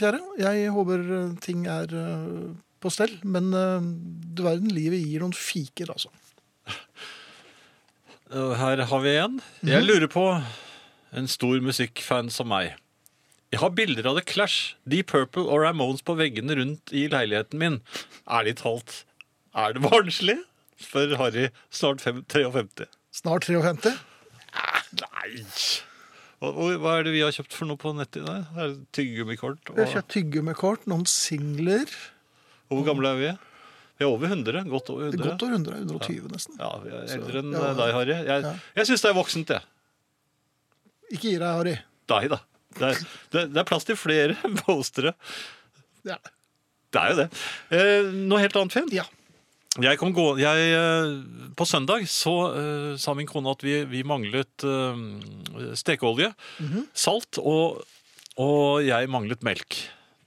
kjære. Jeg håper eh, ting er eh, på stell, men eh, du verden, livet gir noen fiker, altså.
Uh, Her har vi en.
Mhm.
Jeg lurer på en stor musikkfan som meg. Jeg har bilder av The Clash, Deep Purple og Ramones på veggene rundt i leiligheten min. Ærlig talt, er det barnslig? Spør Harry, snart fem, 53.
Snart 53.
Nei! Og, og, hva er det vi har kjøpt for noe på nettet? Der? Er det Tyggegummikort?
Vi har
Og,
kjøpt hyggemekkort, noen singler.
og hvor gamle er vi? Vi er over 100. Godt over 100.
Godt over 100. 120, nesten.
Ja, vi er eldre enn
ja, ja.
deg, Harry. Jeg,
Ja.
jeg syns det er voksent, jeg.
Ikke gi deg, Harry.
Nei da. Det er, det, det er plass til flere postere.
Ja.
Det er jo det. Eh, noe helt annet, Finn?
Ja.
Jeg kom gå, jeg, eh, på søndag så eh, sa min kone at vi, vi manglet eh, stekeolje, salt, og, og jeg manglet melk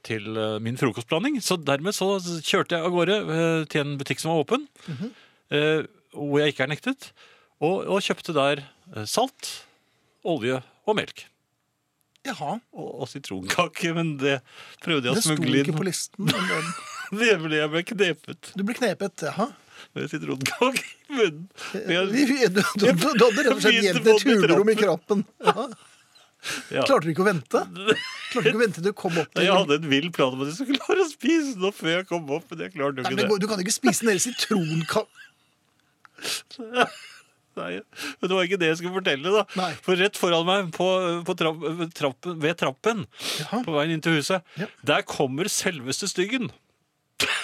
til eh, min frokostblanding. Så dermed så kjørte jeg av gårde eh, til en butikk som var åpen, eh, hvor jeg ikke er nektet, og, og kjøpte der eh, salt, olje og melk.
Jaha.
Og, og sitronkake, men det prøvde jeg å
Det sto
smugle
ikke
inn.
på listen. men-
Det ble jeg ble knepet.
Du ble knepet, jaha.
med sitronkake i munnen. Men
Eh, Vi- vi-
jeg,
Du, du, du, du hadde rett og slett
Jeg
gjemt
begynte
et
på den
hulrom i kroppen. Ja.
ja.
Klarte du ikke å vente? Klarte du ikke å vente til du kom opp til
jeg hadde en vill plan om at jeg skulle klare å spise den opp før jeg kom opp, men jeg klarte jo
Nei,
ikke
men
det.
Du kan ikke spise den hele sitronkaka...
Nei, men det var ikke det jeg skulle fortelle, da.
Nei.
For rett foran meg, på, på trapp, trappen, ved trappen,
Jaha.
på veien inn til huset,
Ja.
der kommer selveste styggen.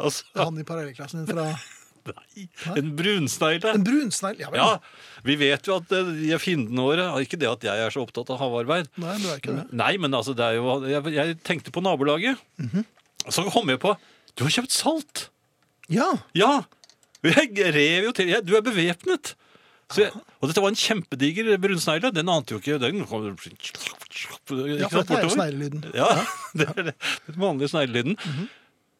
altså,
Han i parallellklassen din fra
nei, en brunsnegle.
En brunsnegl. Ja, vel.
Ja, vi vet jo at eh, de fiendene våre Ikke det at jeg er så opptatt av havarbeid,
Nei, du er ikke det.
Nei, men altså, det er jo Jeg, jeg tenkte på nabolaget. Så kom jeg på Du har kjøpt salt!
Ja,
Ja! Jeg rev jo til. Jeg, du er bevæpnet! Så jeg, og dette var en kjempediger brunsnegle. Den ante jo ikke Den kom
ja
ja,
for dette er jo sneglelyden. Mhm.
Ja, det er det. den vanlige sneglelyden.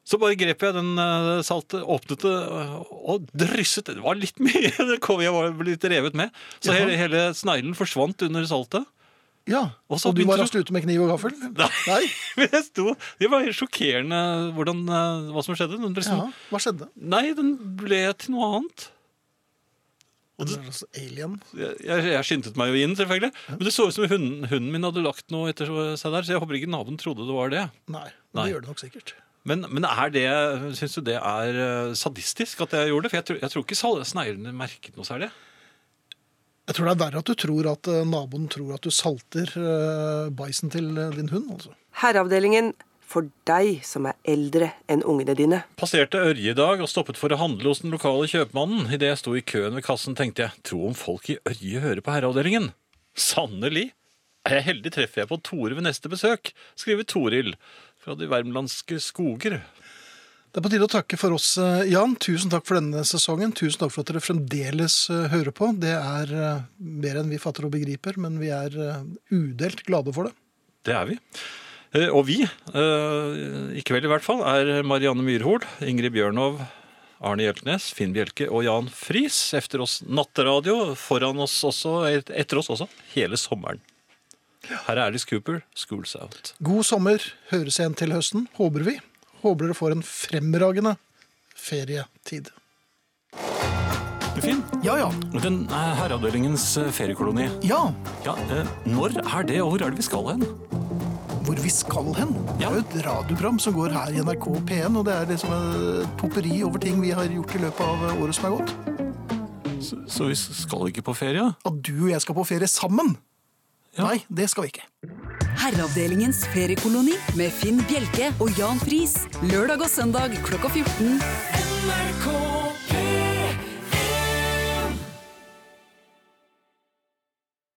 Så bare grep jeg den eh, salte, åpnet det eh, og drysset. Det var litt mye, det kom jeg var litt revet med. Så hele, hele sneglen forsvant under saltet.
Ja.
Og
Og
så
du
begynte
var
du-
raskt ute med kniv og gaffel? Nei.
Men jeg sto, Det var helt sjokkerende hvordan, eh, hva som skjedde. Den ble,
Ja,
sånn-
hva skjedde?
Nei, den ble til noe annet.
Det er altså alien.
Jeg, jeg, jeg skyndte meg jo inn, selvfølgelig. Men det så ut som hunden, hunden min hadde lagt noe etter seg der, så jeg håper ikke naboen trodde det var det.
Nei, det
Nei.
gjør det nok sikkert.
Men, men er det, syns du det er eh, sadistisk at jeg gjorde det? For jeg, tror- jeg tror ikke sal- sneglene merket noe særlig.
Jeg tror det er verre at du tror at eh, naboen tror at du salter uh, bæsjen til eh, din hund. altså.
Herreavdelingen for deg som er eldre enn ungene dine.
Passerte Ørje i dag og stoppet for å handle hos den lokale kjøpmannen. Idet jeg sto i køen ved kassen, tenkte jeg tro om folk i Ørje hører på herreavdelingen. Sannelig! Er jeg heldig, treffer jeg på Tore ved neste besøk, skriver Toril fra de värmlandske skoger.
Det er på tide å takke for oss, eh, Jan. Tusen takk for denne sesongen. Tusen takk for at dere fremdeles eh, hører på. Det er eh, mer enn vi fatter og begriper, men vi er eh, udelt glade for det.
Det er vi. Eh, Og vi, eh, i kveld i hvert fall, er Marianne Myrhol, Ingrid Bjørnov, Arne Hjeltnes, Finn Bjelke og Jan Friis. Efter oss natteradio, foran oss også, et- etter oss også, hele sommeren. Her er Alice Cooper, 'School's Out'.
God sommer. Høres igjen til høsten, håper vi. Håper dere får en fremragende ferietid.
Finn,
Ja, ja.
den eh, herreavdelingens feriekoloni, eh,
Ja,
når er det, og hvor er det vi skal hen?
Hvor vi skal hen? Det
Ja.
er jo et radioprogram som går her i NRK P1, og det er liksom et potpurri over ting vi har gjort i løpet av eh, året som er gått.
Så vi skal ikke på ferie?
At du og jeg skal på ferie sammen?
Ja.
Nei, det skal vi ikke.
Herreavdelingens feriekoloni med Finn Bjelke og Jan Friis. Lørdag og søndag klokka 14.
NRK